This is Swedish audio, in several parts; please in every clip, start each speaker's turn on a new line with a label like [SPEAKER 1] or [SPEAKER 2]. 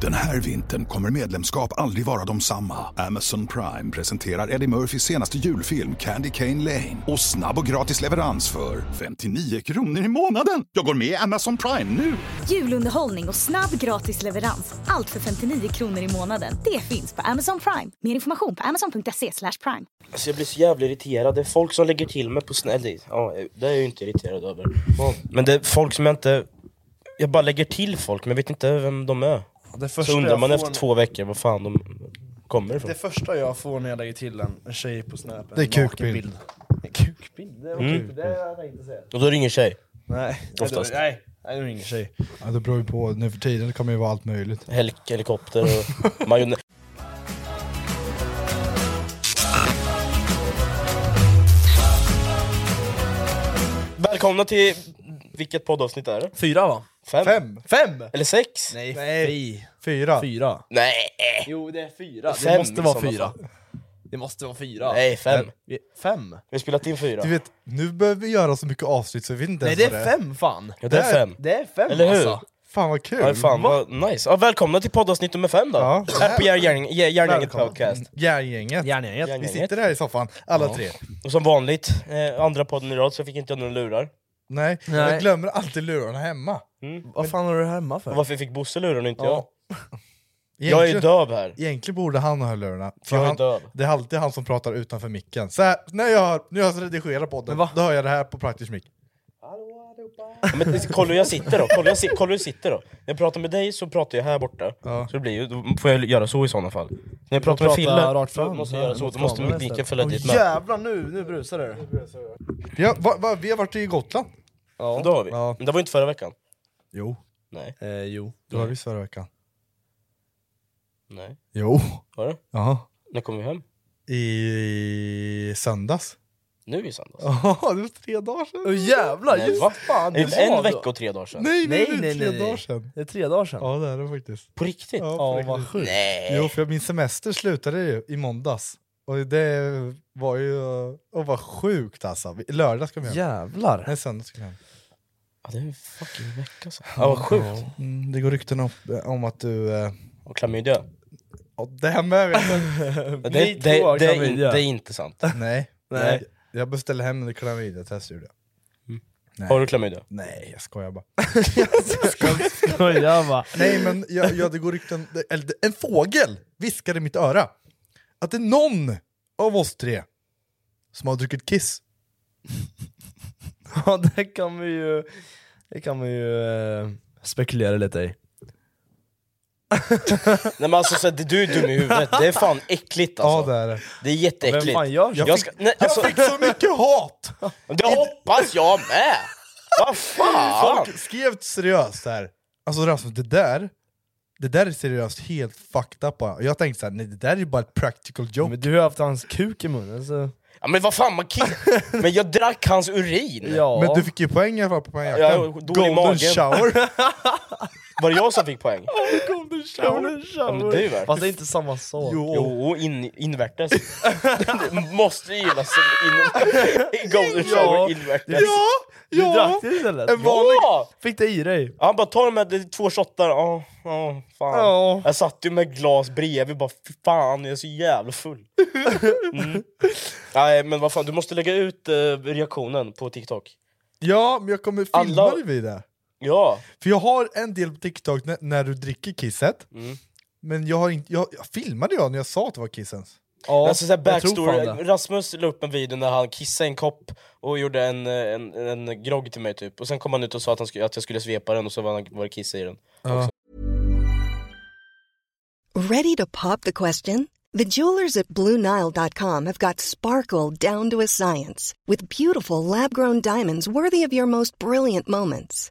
[SPEAKER 1] Den här vintern kommer medlemskap aldrig vara de samma. Amazon Prime presenterar Eddie Murphys senaste julfilm Candy Cane Lane. Och snabb och gratis leverans för 59 kronor i månaden. Jag går med i Amazon Prime nu!
[SPEAKER 2] Julunderhållning och snabb gratis leverans. Allt för 59 kronor i månaden. Det finns på Amazon Prime. Mer information på amazon.se slash prime.
[SPEAKER 3] Alltså jag blir så jävla irriterad. Det är folk som lägger till mig på snäll... Ja, det är jag ju inte irriterad över. Men det är folk som jag inte... Jag bara lägger till folk, men jag vet inte vem de är.
[SPEAKER 4] Det
[SPEAKER 3] Så
[SPEAKER 4] första,
[SPEAKER 3] undrar
[SPEAKER 4] jag
[SPEAKER 3] man
[SPEAKER 4] får
[SPEAKER 3] efter
[SPEAKER 4] när-
[SPEAKER 3] två veckor var fan de kommer ifrån.
[SPEAKER 4] det första jag får när jag lägger till en, en tjej på snap, en
[SPEAKER 5] Det är
[SPEAKER 4] nakenbild.
[SPEAKER 5] kukbild.
[SPEAKER 4] En Kukbild? Det var
[SPEAKER 3] Mm.
[SPEAKER 4] typ det jag tänkte säga.
[SPEAKER 3] Och då är det ingen tjej.
[SPEAKER 4] Nej,
[SPEAKER 3] Oftast.
[SPEAKER 4] nej, nej, det är ingen tjej.
[SPEAKER 5] Ja, det beror ju på, nu för tiden kommer ju vara allt möjligt.
[SPEAKER 3] Helik- helikopter och majonnäs. Välkomna till... Vilket poddavsnitt är det?
[SPEAKER 6] Fyra va?
[SPEAKER 3] Fem?
[SPEAKER 5] Fem!
[SPEAKER 4] Fem!
[SPEAKER 3] Eller sex?
[SPEAKER 4] Nej,
[SPEAKER 5] Fyra!
[SPEAKER 6] Fyra.
[SPEAKER 3] Nej.
[SPEAKER 4] Jo det är fyra.
[SPEAKER 3] Fem
[SPEAKER 6] det måste
[SPEAKER 3] i
[SPEAKER 6] vara
[SPEAKER 3] sådana
[SPEAKER 6] fyra.
[SPEAKER 3] fall.
[SPEAKER 4] Det måste vara fyra.
[SPEAKER 3] Nej, fem.
[SPEAKER 4] Vi- Fem?
[SPEAKER 3] Vi har spelat in fyra.
[SPEAKER 5] Du vet, nu behöver vi göra så mycket avsnitt så vi vet inte
[SPEAKER 4] Nej
[SPEAKER 5] ens
[SPEAKER 4] det
[SPEAKER 5] vad
[SPEAKER 4] är fem fan!
[SPEAKER 3] Ja, det är fem.
[SPEAKER 4] Det är fem
[SPEAKER 3] Eller hur?
[SPEAKER 4] alltså!
[SPEAKER 5] Fan vad kul!
[SPEAKER 3] Ja, fan vad nice. Ja, välkomna till poddavsnitt nummer fem då.
[SPEAKER 5] Ja.
[SPEAKER 3] Här på Järngänget Järngänget
[SPEAKER 5] Välkommen.
[SPEAKER 3] podcast.
[SPEAKER 5] Järngänget!
[SPEAKER 4] Järngänget.
[SPEAKER 5] Vi
[SPEAKER 3] Järngänget.
[SPEAKER 5] sitter här i soffan, alla tre.
[SPEAKER 3] Och som vanligt, eh, andra podden i rad så fick inte jag några lurar.
[SPEAKER 5] Nej, jag
[SPEAKER 4] Nej.
[SPEAKER 5] glömmer alltid lurarna hemma.
[SPEAKER 4] Vad fan har du hemma för?
[SPEAKER 3] Mm. Och varför fick Bosse luren och inte
[SPEAKER 5] Ja.
[SPEAKER 3] jag? Jag är ju
[SPEAKER 5] Egentligen-
[SPEAKER 3] döv här.
[SPEAKER 5] Egentligen borde han ha lurarna. För
[SPEAKER 3] Jag är
[SPEAKER 5] han,
[SPEAKER 3] döv.
[SPEAKER 5] det är alltid han som pratar utanför micken. Så här, när jag hör, nu har jag redigerat podden,
[SPEAKER 4] va?
[SPEAKER 5] då hör jag det här på praktisk mick.
[SPEAKER 3] Ja, Men kolla hur jag sitter då, kolla, jag, si- kolla hur jag sitter då. När jag pratar med dig så pratar jag här borta,
[SPEAKER 5] Ja.
[SPEAKER 3] så det blir ju, då får jag göra så i sådana fall. När jag pratar med Fille,
[SPEAKER 6] rakt fram.
[SPEAKER 3] måste jag göra så, då
[SPEAKER 6] Mot
[SPEAKER 3] måste
[SPEAKER 6] kameran
[SPEAKER 3] micken
[SPEAKER 6] istället.
[SPEAKER 3] följa dit med.
[SPEAKER 4] Jävlar nu, nu brusar det!
[SPEAKER 5] Vi har, va, va, vi har varit i Gotland.
[SPEAKER 3] Ja, Då har vi.
[SPEAKER 5] Ja.
[SPEAKER 3] Men det var inte förra veckan.
[SPEAKER 5] Jo.
[SPEAKER 3] Nej.
[SPEAKER 4] Eh, jo.
[SPEAKER 5] Det var visst förra veckan.
[SPEAKER 3] Nej.
[SPEAKER 5] Jo.
[SPEAKER 3] Var det?
[SPEAKER 5] Jaha.
[SPEAKER 3] När kom vi hem?
[SPEAKER 5] I söndags.
[SPEAKER 3] Nu i söndags?
[SPEAKER 5] Ja, det var tre dagar sedan.
[SPEAKER 4] Åh jävlar,
[SPEAKER 3] Nej,
[SPEAKER 4] just
[SPEAKER 3] va?
[SPEAKER 4] fan!
[SPEAKER 3] Det
[SPEAKER 4] det
[SPEAKER 3] är
[SPEAKER 4] var då.
[SPEAKER 3] En vecka och tre dagar sedan.
[SPEAKER 5] Nej, nej,
[SPEAKER 4] Nej,
[SPEAKER 5] nej,
[SPEAKER 4] nej,
[SPEAKER 5] tre
[SPEAKER 4] nej,
[SPEAKER 5] dagar
[SPEAKER 4] nej.
[SPEAKER 5] sedan.
[SPEAKER 4] Det är tre dagar sedan.
[SPEAKER 5] Ja, det är det faktiskt.
[SPEAKER 3] På riktigt?
[SPEAKER 5] Ja,
[SPEAKER 4] Ja,
[SPEAKER 5] på
[SPEAKER 4] vad
[SPEAKER 5] riktigt.
[SPEAKER 4] sjukt.
[SPEAKER 3] Nej!
[SPEAKER 5] Jo, för min semester slutade ju i måndags. Och det var ju... Och var sjukt alltså. I Lördag ska vi hem.
[SPEAKER 4] Jävlar!
[SPEAKER 5] Nej, söndag ska vi hem.
[SPEAKER 3] Ja, det är en fucking vecka sedan. Ja, vad sjukt.
[SPEAKER 5] Mm, det går rykten om, om att du... Eh,
[SPEAKER 3] Och klamydia.
[SPEAKER 5] ja, det här med... vet jag.
[SPEAKER 3] Det,
[SPEAKER 4] Ni
[SPEAKER 3] det,
[SPEAKER 4] två
[SPEAKER 3] det,
[SPEAKER 4] har
[SPEAKER 3] det, är, in,
[SPEAKER 4] klamydia.
[SPEAKER 3] det är inte sant.
[SPEAKER 5] nej.
[SPEAKER 3] Nej.
[SPEAKER 5] Jag beställde hem en klamydiatest gjorde jag.
[SPEAKER 4] Mm.
[SPEAKER 3] Har du klamydia?
[SPEAKER 5] Nej, jag skojar bara.
[SPEAKER 4] Skojar bara.
[SPEAKER 5] Nej, men jag, jag, det går rykten... det- Eller, det- en fågel viskade i mitt öra att det är någon av oss tre som har druckit kiss.
[SPEAKER 4] Ja, det kan vi ju... Det kan vi ju eh, spekulera lite i.
[SPEAKER 3] Nej men alltså så, här, det- du är dum i huvudet, det är fan äckligt alltså.
[SPEAKER 5] Ja, det är det.
[SPEAKER 3] Det är jätteäckligt.
[SPEAKER 4] Vem fan gör så?
[SPEAKER 3] jag ska, nej, alltså,
[SPEAKER 5] Jag fick så mycket hat!
[SPEAKER 3] Det hoppas jag med! Vad fan!
[SPEAKER 5] Folk skrev seriöst här. Alltså Rasmus, det där, det där är seriöst helt fucked up bara. Och Jag tänkte såhär, nej det där är bara ett practical joke.
[SPEAKER 4] Men du har haft hans kuk i munnen så...
[SPEAKER 3] Ja, men vad fan, man kill... Men jag drack hans urin!
[SPEAKER 4] Ja.
[SPEAKER 5] Men du fick ju poäng i alla fall på poängjakt.
[SPEAKER 3] Ja, dålig
[SPEAKER 5] Golden
[SPEAKER 3] magen.
[SPEAKER 5] shower.
[SPEAKER 3] Var det jag som fick poäng?
[SPEAKER 4] Golden shower,
[SPEAKER 3] Ja, men det är ju värt
[SPEAKER 4] Fast det är inte samma sak.
[SPEAKER 5] Jo.
[SPEAKER 3] Jo, in, invärtes. Du måste ju gillas in, in golden shower invärtes.
[SPEAKER 5] ja,
[SPEAKER 4] Du
[SPEAKER 5] ja.
[SPEAKER 4] drack det istället?
[SPEAKER 5] En vanlig...
[SPEAKER 3] Ja!
[SPEAKER 4] Fick det i dig?
[SPEAKER 3] Han bara tar de här det är två shottar, ja, ja, fan.
[SPEAKER 4] Ja.
[SPEAKER 3] Jag satt ju med glas bredvid bara fy fan jag är så jävla full. Mm. Nej men vad fan, du måste lägga ut eh, reaktionen på TikTok.
[SPEAKER 5] Ja, men jag kommer filma
[SPEAKER 3] Alla-
[SPEAKER 5] dig vid det.
[SPEAKER 3] Ja,
[SPEAKER 5] För jag har en del på TikTok när, när du dricker kisset.
[SPEAKER 3] Mm.
[SPEAKER 5] Men jag har inte... Jag, jag filmade jag när jag sa att det var kissens?
[SPEAKER 4] Ja,
[SPEAKER 3] alltså, så här
[SPEAKER 4] jag tror
[SPEAKER 3] backstory.
[SPEAKER 4] fan det.
[SPEAKER 3] Rasmus la upp en video när han kissade i en kopp och gjorde en, eh, en, en grogg till mig typ. Och sen kom han ut och sa att, han skulle, att jag skulle svepa den och så var, han, var det kiss i den.
[SPEAKER 7] Ready to pop the question? The jewelers at BlueNile.com have got sparkle down to a science with beautiful lab grown diamonds worthy of your most brilliant moments.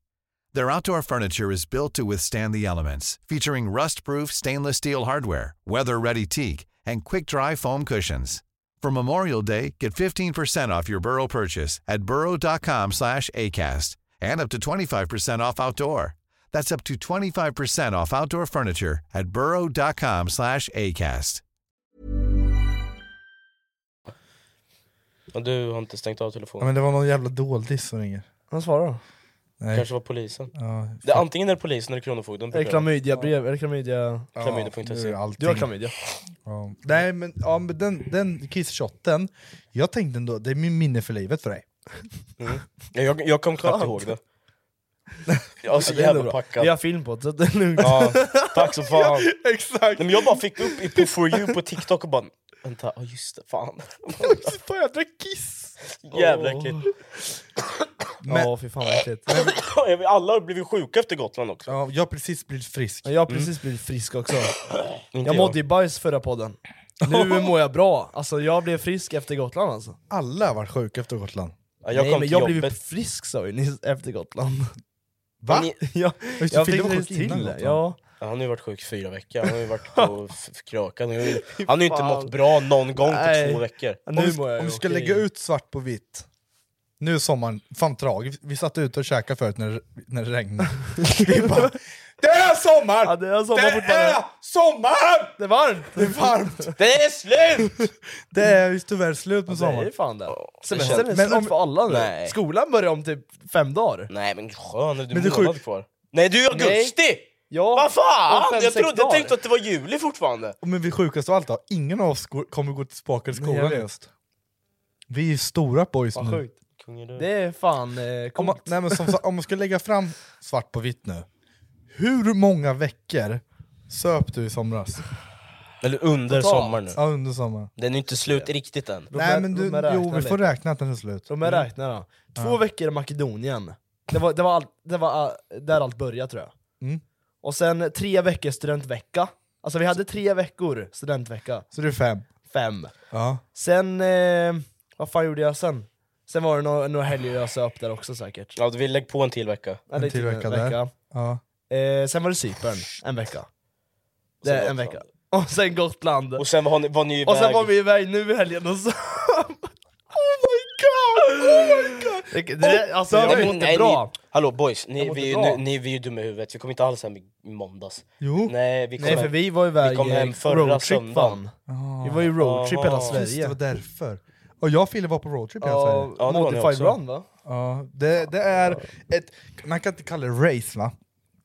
[SPEAKER 6] Their outdoor furniture is built to withstand the elements, featuring rust-proof stainless steel hardware, weather-ready teak, and quick-dry foam cushions. For Memorial Day, get 15% off your Burrow purchase at burrow.com slash ACAST and up to 25% off outdoor. That's up to 25% off outdoor furniture at burrow.com slash ACAST.
[SPEAKER 3] Men du har inte stängt av telefonen?
[SPEAKER 5] Ja, men det var någon jävla doldis som ringer.
[SPEAKER 4] Han svarar då.
[SPEAKER 5] Nej.
[SPEAKER 3] kanske var polisen?
[SPEAKER 5] Ja,
[SPEAKER 3] Det, antingen är det polisen eller Kronofogden. brukar det vara.
[SPEAKER 4] Klamydiabrev, eller klamydia...
[SPEAKER 5] ja,
[SPEAKER 3] Klamydia.se.
[SPEAKER 5] nu är allting-
[SPEAKER 4] Du har klamydia.
[SPEAKER 5] Ja. Nej men, ja, men den, den kisschotten, jag tänkte ändå, det är min minne för livet för dig.
[SPEAKER 3] Ja, jag, jag kom knappt ihåg det. Jag var så
[SPEAKER 4] Ja, det är ändå
[SPEAKER 3] jävla
[SPEAKER 4] bra.
[SPEAKER 3] packad.
[SPEAKER 4] Vi har film på det, så det är lugnt.
[SPEAKER 3] Ja, tack så fan. Nej,
[SPEAKER 5] Exakt!
[SPEAKER 3] men jag bara fick upp i- på For you på TikTok och bara Vänta, ja just det, fan.
[SPEAKER 5] Fan jag drack kiss!
[SPEAKER 3] Jävla äckligt.
[SPEAKER 4] Ja, fy fan vad äckligt.
[SPEAKER 3] Alla har blivit sjuka efter Gotland också.
[SPEAKER 5] Ja, jag har precis blivit frisk.
[SPEAKER 4] Men Jag har precis blivit frisk också.
[SPEAKER 3] Mm. Inte
[SPEAKER 4] Jag mådde ju bajs förra podden. Nu mår jag bra. Alltså jag blev frisk efter Gotland alltså.
[SPEAKER 5] Alla var sjuka efter Gotland.
[SPEAKER 3] Ja, jag
[SPEAKER 4] Nej,
[SPEAKER 3] kom
[SPEAKER 4] men
[SPEAKER 3] till
[SPEAKER 4] jag blev ju
[SPEAKER 3] jobbet.
[SPEAKER 4] frisk sa ju ni efter Gotland.
[SPEAKER 5] Va?
[SPEAKER 3] Ni-
[SPEAKER 4] jag
[SPEAKER 5] Just det,
[SPEAKER 4] jag
[SPEAKER 5] Fille
[SPEAKER 4] fick
[SPEAKER 5] var
[SPEAKER 4] det
[SPEAKER 5] sjuk
[SPEAKER 4] till
[SPEAKER 5] innan
[SPEAKER 4] det.
[SPEAKER 5] Gotland.
[SPEAKER 4] Ja.
[SPEAKER 3] Ja, han har ju varit sjuk fyra veckor, han har ju varit på f- f- Krökan. Han har ju- han har ju inte mått bra någon gång på
[SPEAKER 4] Nej.
[SPEAKER 3] typ två veckor.
[SPEAKER 5] Om,
[SPEAKER 4] Nu
[SPEAKER 5] vi,
[SPEAKER 4] mår jag
[SPEAKER 5] om
[SPEAKER 4] ju
[SPEAKER 5] vi ska
[SPEAKER 4] okej.
[SPEAKER 5] lägga ut svart på vitt. Nu är sommaren fan tragisk. Vi satt ute och käkade förut när, det- när det regnade. vi bara, det är sommar!
[SPEAKER 4] Ja, det är sommar fortfarande.
[SPEAKER 5] är sommar!
[SPEAKER 4] Det är varmt!
[SPEAKER 5] Det är varmt!
[SPEAKER 3] Det är slut!
[SPEAKER 5] Det är ju tyvärr slut med
[SPEAKER 4] Det är ju
[SPEAKER 5] sommaren.
[SPEAKER 4] fan det. Semestern är
[SPEAKER 5] Men
[SPEAKER 4] slut
[SPEAKER 5] om-
[SPEAKER 4] för alla nu.
[SPEAKER 3] Nej.
[SPEAKER 4] Skolan börjar om typ fem dagar.
[SPEAKER 3] Nej men skön, det är
[SPEAKER 5] det är
[SPEAKER 3] en månad
[SPEAKER 5] sjukt.
[SPEAKER 3] kvar. Nej du är i augusti!
[SPEAKER 4] Ja,
[SPEAKER 3] Vad
[SPEAKER 4] om
[SPEAKER 3] fan!
[SPEAKER 4] fem, sex
[SPEAKER 3] Jag, trodde, jag
[SPEAKER 4] dagar.
[SPEAKER 3] tänkte att det var juli fortfarande.
[SPEAKER 5] Men vi sjukaste av allt då, ingen av oss går- kommer gå tillbaka till
[SPEAKER 4] jag
[SPEAKER 5] skolan i
[SPEAKER 4] vet.
[SPEAKER 5] höst. Vi är ju stora boys
[SPEAKER 3] Mm.
[SPEAKER 4] Vad
[SPEAKER 5] nu.
[SPEAKER 4] sjukt.
[SPEAKER 3] Kungarö.
[SPEAKER 4] Det är fan eh,
[SPEAKER 5] Om man,
[SPEAKER 4] coolt.
[SPEAKER 5] nej, men som, sagt, om man ska lägga fram svart på vitt nu. Hur många veckor söp du i somras?
[SPEAKER 3] Eller under
[SPEAKER 4] Totalt.
[SPEAKER 3] sommaren nu.
[SPEAKER 5] Ja, under sommaren.
[SPEAKER 3] Den är inte slut riktigt än.
[SPEAKER 4] Låt mig-
[SPEAKER 5] Nej men
[SPEAKER 4] låt
[SPEAKER 5] du,
[SPEAKER 4] mig räkna
[SPEAKER 5] jo vi får
[SPEAKER 4] lite.
[SPEAKER 5] räkna att den är slut.
[SPEAKER 4] Låt mig räkna då. Två veckor i Makedonien. Det var, det var, allt- det var eh, där allt började tror jag.
[SPEAKER 5] Mm.
[SPEAKER 4] Och sen tre veckor studentvecka. Alltså vi hade tre veckor studentvecka.
[SPEAKER 5] Så det är fem.
[SPEAKER 4] Fem.
[SPEAKER 5] Ja.
[SPEAKER 4] Sen, eh, vad fan gjorde jag sen? Sen var det några, några helger jag söp där också säkert.
[SPEAKER 3] Ja, du vill lägga på en till vecka.
[SPEAKER 4] Eller
[SPEAKER 5] till
[SPEAKER 4] typ
[SPEAKER 5] vecka där. ja.
[SPEAKER 4] Eh, sen var det Cypern, en vecka. Det
[SPEAKER 3] sen
[SPEAKER 4] är en
[SPEAKER 3] Gotland.
[SPEAKER 4] vecka. Och sen Gotland.
[SPEAKER 3] Och sen var ni, var ni iväg.
[SPEAKER 4] Och sen var vi iväg nu i helgen och så... oh my god! Oh my god! Det, det, alltså
[SPEAKER 3] Ja,
[SPEAKER 4] jag
[SPEAKER 3] men-
[SPEAKER 4] mådde
[SPEAKER 3] nej,
[SPEAKER 4] bra.
[SPEAKER 3] Ni, hallå boys, ni,
[SPEAKER 4] mådde
[SPEAKER 3] vi,
[SPEAKER 4] bra.
[SPEAKER 3] nu, ni, vi är ju dumma i huvudet. Vi kom inte alls hem i i måndags.
[SPEAKER 5] Jo.
[SPEAKER 3] Nej, vi kom
[SPEAKER 4] Nej för
[SPEAKER 3] hem.
[SPEAKER 4] vi var iväg
[SPEAKER 3] Vi kom hem
[SPEAKER 4] eh,
[SPEAKER 3] förra
[SPEAKER 4] roadtrip
[SPEAKER 3] söndagen. Ah.
[SPEAKER 4] fan. Vi var ju roadtrip
[SPEAKER 3] Aha.
[SPEAKER 4] hela
[SPEAKER 5] Just det
[SPEAKER 4] Sverige.
[SPEAKER 5] var därför. Och jag och Fille var på roadtrip i hela Sverige.
[SPEAKER 4] Ja,
[SPEAKER 3] Ja, det var ni
[SPEAKER 4] Modified
[SPEAKER 3] också.
[SPEAKER 4] run va?
[SPEAKER 5] Ja, det, det är ett... Man kan inte kalla det race va?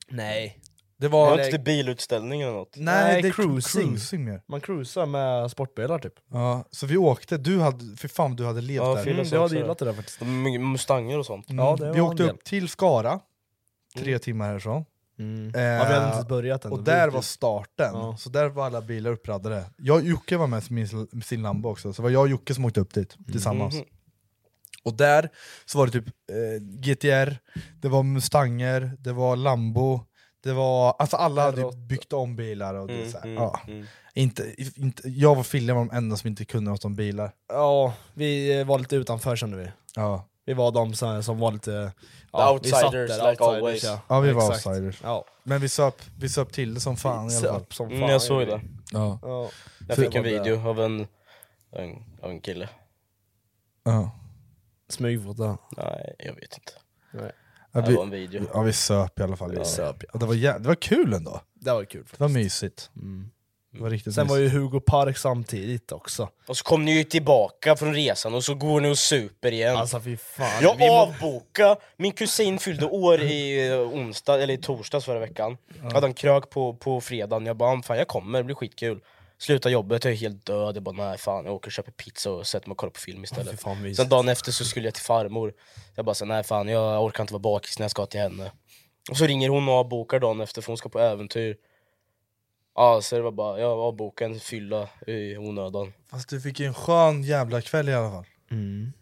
[SPEAKER 4] Nej.
[SPEAKER 5] Det
[SPEAKER 3] Det
[SPEAKER 5] var...
[SPEAKER 3] var inte bilutställning eller något.
[SPEAKER 4] Nej,
[SPEAKER 5] det är
[SPEAKER 4] cruising.
[SPEAKER 5] cruising mer.
[SPEAKER 4] Man cruisar med sportbilar typ.
[SPEAKER 5] Ja, så vi åkte, du hade... För fan du hade levt
[SPEAKER 3] Ja,
[SPEAKER 5] där.
[SPEAKER 3] Fille-
[SPEAKER 4] Mm,
[SPEAKER 3] också
[SPEAKER 4] du hade
[SPEAKER 3] det.
[SPEAKER 4] gillat det där faktiskt.
[SPEAKER 3] M- Mustanger och sånt.
[SPEAKER 5] Mm.
[SPEAKER 4] Ja, det
[SPEAKER 5] vi
[SPEAKER 4] var
[SPEAKER 5] åkte
[SPEAKER 4] en del.
[SPEAKER 5] upp till Skara,
[SPEAKER 3] Mm.
[SPEAKER 5] tre timmar härifrån. Eh,
[SPEAKER 4] Ja, vi hade inte ens börjat än. typ
[SPEAKER 5] och
[SPEAKER 4] Vi
[SPEAKER 5] där
[SPEAKER 4] gick
[SPEAKER 5] var
[SPEAKER 4] ut.
[SPEAKER 5] starten,
[SPEAKER 4] Ja.
[SPEAKER 5] så där var alla bilar uppradade. Jag och Jocke var med som min- med sin Lambo också, så det var jag och Jocke som åkte upp dit
[SPEAKER 4] Mm.
[SPEAKER 5] tillsammans.
[SPEAKER 4] Mm-hmm.
[SPEAKER 5] Och där så var det typ eh, GTR, det var Mustanger, det var Lambo, det var... Alltså alla hade ju byggt om bilar och
[SPEAKER 4] Mm,
[SPEAKER 3] Mm,
[SPEAKER 5] det är så här, ja. inte, inte, Jag och Fille var de enda som inte kunde något om bilar.
[SPEAKER 4] Ja, vi eh, var lite utanför kände vi.
[SPEAKER 5] Ja,
[SPEAKER 4] Vi var de som, som var lite...
[SPEAKER 3] The outsiders, like always.
[SPEAKER 5] ja vi var outsiders.
[SPEAKER 4] Ja.
[SPEAKER 5] Men vi söp, vi söp till det som fan i alla fall.
[SPEAKER 4] Söp som fan.
[SPEAKER 3] Mm, jag såg det.
[SPEAKER 5] Ja.
[SPEAKER 4] Ja.
[SPEAKER 3] Jag
[SPEAKER 5] Så-
[SPEAKER 3] fick en video av en, en, av en kille.
[SPEAKER 5] Ja.
[SPEAKER 4] Smygfota.
[SPEAKER 3] Nej, jag vet inte.
[SPEAKER 5] Ja,
[SPEAKER 3] Det
[SPEAKER 5] vi,
[SPEAKER 3] var en video.
[SPEAKER 5] ja, vi söp i alla fall.
[SPEAKER 4] söp, ja.
[SPEAKER 5] Och det, var jä- det var kul ändå.
[SPEAKER 4] Det var kul. Mm.
[SPEAKER 5] Det var mysigt. Det var riktigt
[SPEAKER 4] Sen var
[SPEAKER 5] mysigt.
[SPEAKER 4] ju Hugo Park samtidigt också.
[SPEAKER 3] Och så kom ni ju tillbaka från resan och så går ni och super igen.
[SPEAKER 4] Alltså fy fan.
[SPEAKER 3] jag
[SPEAKER 4] vi må-
[SPEAKER 3] avbokade, min kusin fyllde år i eh, onsdag, eller i torsdags förra veckan. Jag hade en krök på, på fredagen, jag bara fan jag kommer, det blir skitkul. Sluta jobbet, jag är helt död, jag bara nej fan jag åker och köper pizza och sätter mig och kollar på film
[SPEAKER 4] Fy
[SPEAKER 3] istället.
[SPEAKER 4] fan, mysigt.
[SPEAKER 3] Sen dagen efter så skulle jag till farmor, jag bara så, nej fan jag orkar inte vara bakis när jag ska till henne. Och så ringer hon och avbokar dagen efter för hon ska på äventyr. Ja, så det var bara, jag avbokade en fylla i onödan.
[SPEAKER 5] Fast du fick ju en skön jävla kväll i alla fall.
[SPEAKER 4] Mm.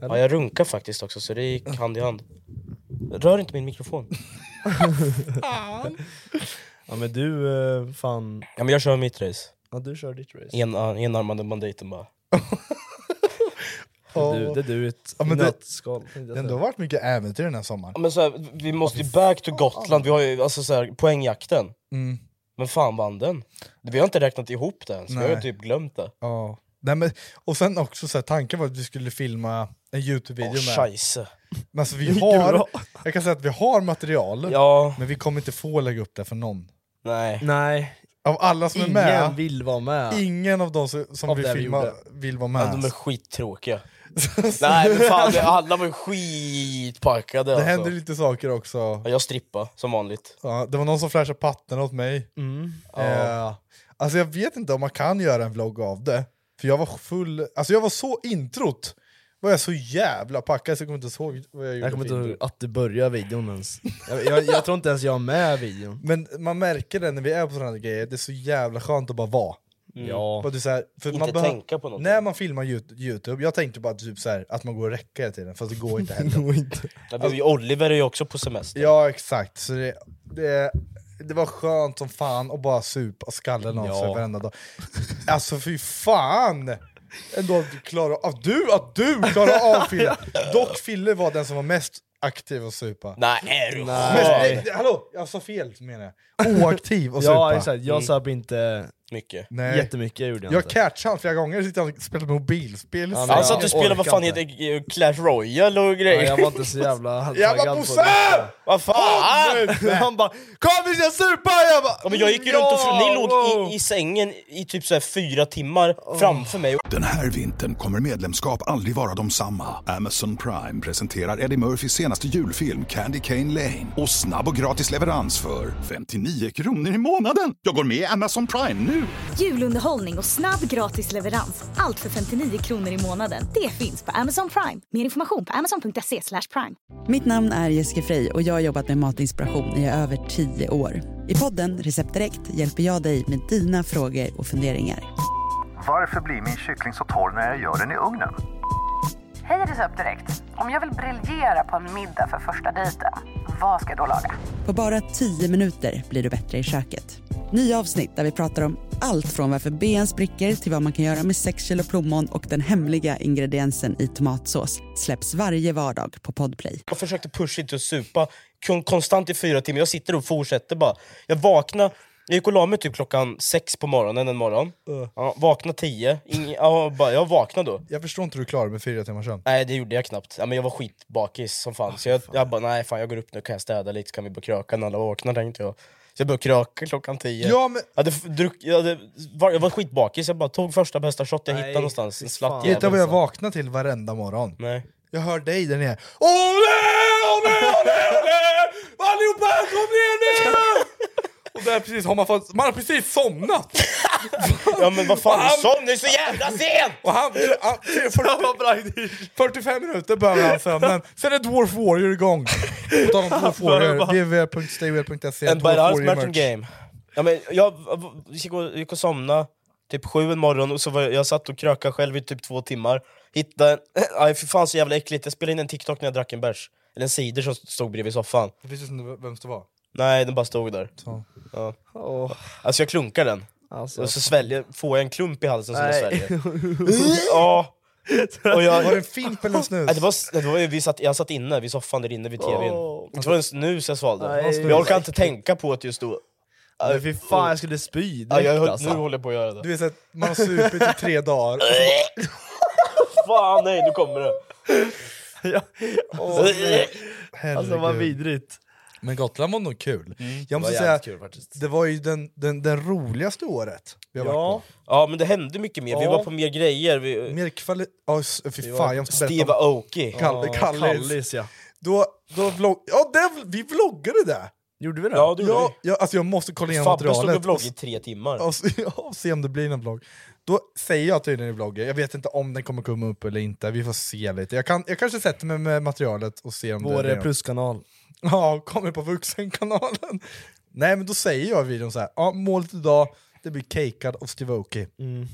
[SPEAKER 3] Ja, jag runkar faktiskt också så det gick hand i hand. Rör inte min mikrofon.
[SPEAKER 4] Ja men du, eh, fan...
[SPEAKER 3] Ja, men jag kör mitt race.
[SPEAKER 4] Ja, du kör ditt race.
[SPEAKER 3] En, eh, enarmade banditen bara.
[SPEAKER 4] Det är du, det är du i ett
[SPEAKER 5] Ja, men det-
[SPEAKER 4] nötskal. tänkte jag
[SPEAKER 5] Det har ändå varit mycket äventyr den här sommaren.
[SPEAKER 3] Ja, men så här, vi måste ju back to Gotland, vi har ju alltså så här, poängjakten.
[SPEAKER 5] Mm.
[SPEAKER 3] Men fan vann den? Vi har inte räknat ihop den, så vi har ju
[SPEAKER 5] Nej.
[SPEAKER 3] typ glömt det.
[SPEAKER 5] Ja. Nej, men, och sen också så här, tanken var att vi skulle filma en
[SPEAKER 3] Åh
[SPEAKER 5] Youtube-video med.
[SPEAKER 3] scheisse.
[SPEAKER 5] Men alltså, vi
[SPEAKER 4] Mycket
[SPEAKER 5] har,
[SPEAKER 4] bra.
[SPEAKER 5] jag kan säga att vi har material,
[SPEAKER 3] Ja,
[SPEAKER 5] men vi kommer inte få lägga upp det för någon.
[SPEAKER 3] nej.
[SPEAKER 4] säga. Nej,
[SPEAKER 5] Av alla som
[SPEAKER 4] ingen
[SPEAKER 5] är med,
[SPEAKER 4] vill vara med.
[SPEAKER 5] ingen av de som, som
[SPEAKER 4] Av
[SPEAKER 5] vi
[SPEAKER 4] det vi
[SPEAKER 5] filmar
[SPEAKER 4] gjorde.
[SPEAKER 5] vill vara
[SPEAKER 3] Ja,
[SPEAKER 5] med.
[SPEAKER 3] de är skittråkiga. nej men fan, det- alla var ju skitpackade
[SPEAKER 5] det
[SPEAKER 3] alltså.
[SPEAKER 5] händer lite saker också.
[SPEAKER 3] Ja, jag strippa som vanligt.
[SPEAKER 5] Ja, det var någon som flashade patten åt mig.
[SPEAKER 4] Mm.
[SPEAKER 5] Eh, alltså jag vet inte om man kan göra en vlogg av det. För jag var full, alltså jag var så introt. Var jag så jävla packad så jag kommer inte ihåg vad jag gjorde.
[SPEAKER 4] Jag kommer
[SPEAKER 5] för
[SPEAKER 4] inte ihåg
[SPEAKER 5] intro.
[SPEAKER 4] att du började videon ens. Jag, jag, jag tror inte ens jag är med i videon.
[SPEAKER 5] Men man märker det när vi är på sådana här grejer, det är så jävla skönt att bara vara.
[SPEAKER 4] Ja.
[SPEAKER 5] Bara du så här, för
[SPEAKER 3] Mm. Inte
[SPEAKER 5] man behöver-
[SPEAKER 3] tänka på något.
[SPEAKER 5] När man filmar Yout- Youtube, jag tänkte bara typ så här, att man går och räcker hela tiden, fast det går inte heller.
[SPEAKER 3] Ja, men Oliver är ju också på semester.
[SPEAKER 5] ja exakt, så det, det, det var skönt som fan att bara supa skallen av sig
[SPEAKER 4] Ja.
[SPEAKER 5] varenda dag. Alltså fy fan! Ändå att du klarar av, du, att du klarar av Fille! Dock Fille var den som var mest aktiv att supa.
[SPEAKER 3] Nej, är du
[SPEAKER 5] Men,
[SPEAKER 3] skön?
[SPEAKER 5] nej, hallå, jag sa fel menar jag. Oaktiv och supa.
[SPEAKER 4] Ja exakt, jag söp inte
[SPEAKER 3] Mm. Mycket.
[SPEAKER 5] Nej.
[SPEAKER 4] jättemycket gjorde jag,
[SPEAKER 5] Jag
[SPEAKER 4] inte.
[SPEAKER 5] catchade honom flera gånger, sitter han och spelar mobilspel.
[SPEAKER 4] Ja, men
[SPEAKER 3] Han satt
[SPEAKER 4] jag
[SPEAKER 3] och spelade vad
[SPEAKER 4] orkar
[SPEAKER 3] fan
[SPEAKER 4] inte.
[SPEAKER 3] heter eh, Clash Royale och
[SPEAKER 4] Ja,
[SPEAKER 3] grejer.
[SPEAKER 4] jag var inte så jävla
[SPEAKER 5] Jävla Bosse!
[SPEAKER 3] Vad fan!
[SPEAKER 4] Han bara 'Kom vi ska supa!' Jag bara
[SPEAKER 3] Ja, men jag gick ju runt och fr- ni låg i, i sängen i typ så här fyra timmar framför mig.
[SPEAKER 1] Den här vintern kommer medlemskap aldrig vara de samma. Amazon Prime presenterar Eddie Murphys senaste julfilm Candy Cane Lane. Och snabb och gratis leverans för 59 kronor i månaden. Jag går med i Amazon Prime nu!
[SPEAKER 2] Julunderhållning och snabb gratis leverans. Allt för 59 kronor i månaden. Det finns på Amazon Prime. Mer information på amazon.se slash prime.
[SPEAKER 8] Mitt namn är Jessica Frey och jag har jobbat med matinspiration i över 10 år. I podden Recept Direkt hjälper jag dig med dina frågor och funderingar.
[SPEAKER 9] Varför blir min kyckling så torr när jag gör den i ugnen?
[SPEAKER 10] Hej Recept Direkt! Om jag vill briljera på en middag för första dejten, vad ska jag då laga?
[SPEAKER 8] På bara 10 minuter blir du bättre i köket. Nya avsnitt där vi pratar om allt från varför ben spricker till vad man kan göra med 6 kilo plommon och den hemliga ingrediensen i tomatsås släpps varje vardag på Podplay.
[SPEAKER 3] Jag försökte pusha inte att supa kon- konstant i fyra timmar. Jag sitter och fortsätter bara. Jag vaknade, jag gick och la mig typ klockan sex på morgonen en morgon. Ja, vaknade tio. Ingen, ja, bara, jag vaknade då.
[SPEAKER 5] Jag förstår inte hur du klarar med fyra timmar sömn.
[SPEAKER 3] Nej det gjorde jag knappt. Ja, men jag var skitbakis som fan. Så jag, jag bara, nej fan jag går upp nu kan jag städa lite så kan vi börja kröka när alla vaknar tänkte jag. Så jag började kröka klockan tio.
[SPEAKER 5] Ja, men-
[SPEAKER 3] jag, hade f- druck, jag, hade, var, jag var skitbakis, jag bara tog första bästa shot jag
[SPEAKER 4] Nej,
[SPEAKER 3] hittade någonstans. En
[SPEAKER 4] fy
[SPEAKER 3] slatt
[SPEAKER 4] fan.
[SPEAKER 3] jävel.
[SPEAKER 5] Vet du vad jag vaknar till varenda morgon?
[SPEAKER 3] Nej.
[SPEAKER 5] Jag hör dig där nere. Ole, ole, ole, ole! Allihopa, kom ner nu! Och där precis har man, fått, man har precis somnat!
[SPEAKER 3] Ja men vad fan, somn, det är så jävla sent!
[SPEAKER 5] Och han, han, 40, 45 minuter behöver han sömnen, sen är Dwarf Warrior igång! På tal om Dwarf Warrior, www.staywell.se
[SPEAKER 3] En Bajrahs matching
[SPEAKER 5] E, merch.
[SPEAKER 3] game. Ja, men jag jag gick och, gick och somnade typ sju en morgon och så var jag, jag satt och krökade själv i typ två timmar. Hittade en, aj för fan så jävla äckligt, jag spelade in en TikTok när jag drack en bärs. Eller en cider som stod bredvid soffan.
[SPEAKER 5] Jag visste inte vem det var.
[SPEAKER 3] Nej den bara stod där.
[SPEAKER 5] Så.
[SPEAKER 3] Ja.
[SPEAKER 4] Åh,
[SPEAKER 3] Alltså jag klunkar den,
[SPEAKER 4] alltså.
[SPEAKER 3] och så sväljer, får jag en klump i halsen som jag
[SPEAKER 4] Nej.
[SPEAKER 3] sväljer. ja. Och jag,
[SPEAKER 5] Var det en fimp eller en snus?
[SPEAKER 3] Nej, det var, nej, det var, vi satt, jag satt inne vid soffan där inne vid tvn.
[SPEAKER 4] Åh.
[SPEAKER 3] Det var en snus jag svalde.
[SPEAKER 4] Nej.
[SPEAKER 3] Jag orkar inte tänka på det just då.
[SPEAKER 4] Men fy fan jag skulle spy
[SPEAKER 3] Ja,
[SPEAKER 4] direkt
[SPEAKER 3] jag, höll-
[SPEAKER 4] alltså.
[SPEAKER 3] nu håller jag på att göra det.
[SPEAKER 5] Du vet såhär, man har supit i tre dagar.
[SPEAKER 3] Fan nej, nu kommer det.
[SPEAKER 4] Ja. Åh, alltså vad
[SPEAKER 5] Herregud.
[SPEAKER 4] vidrigt.
[SPEAKER 5] Men Gotland var nog kul. jag måste
[SPEAKER 4] Mm, var
[SPEAKER 5] säga,
[SPEAKER 4] jävligt kul faktiskt.
[SPEAKER 5] det var ju den, den, den roligaste året vi har
[SPEAKER 4] Ja.
[SPEAKER 5] varit
[SPEAKER 3] Ja men det hände mycket mer, vi
[SPEAKER 4] Ja.
[SPEAKER 3] var på mer grejer.
[SPEAKER 5] på.
[SPEAKER 3] Vi,
[SPEAKER 5] Mer kvali... Ja, s- fy fan, jag måste berätta
[SPEAKER 3] Steve
[SPEAKER 5] om
[SPEAKER 3] Aoki.
[SPEAKER 5] Kalle, Kallis.
[SPEAKER 4] Kallis ja.
[SPEAKER 5] Då, då vlogg... Ja, det, vi vloggade det!
[SPEAKER 4] Gjorde vi det?
[SPEAKER 3] Ja, du gjorde
[SPEAKER 5] Ja, jag, alltså jag måste kolla
[SPEAKER 3] det.
[SPEAKER 5] igenom
[SPEAKER 3] Fabbe stod och
[SPEAKER 5] materialet.
[SPEAKER 3] vloggade i tre timmar.
[SPEAKER 5] och, s- ja, och se om det blir någon vlogg. Då säger jag tydligen i vloggen, jag vet inte om den kommer komma upp eller inte, vi får se lite. Jag, kan, jag kanske sätter mig med materialet och ser om det
[SPEAKER 4] Vår
[SPEAKER 5] blir något.
[SPEAKER 4] pluskanal.
[SPEAKER 5] Ja, kommer på Vuxenkanalen. Nej men då säger jag i videon så här. ja målet idag det blir cakead av Steve Aoki.
[SPEAKER 4] Mm.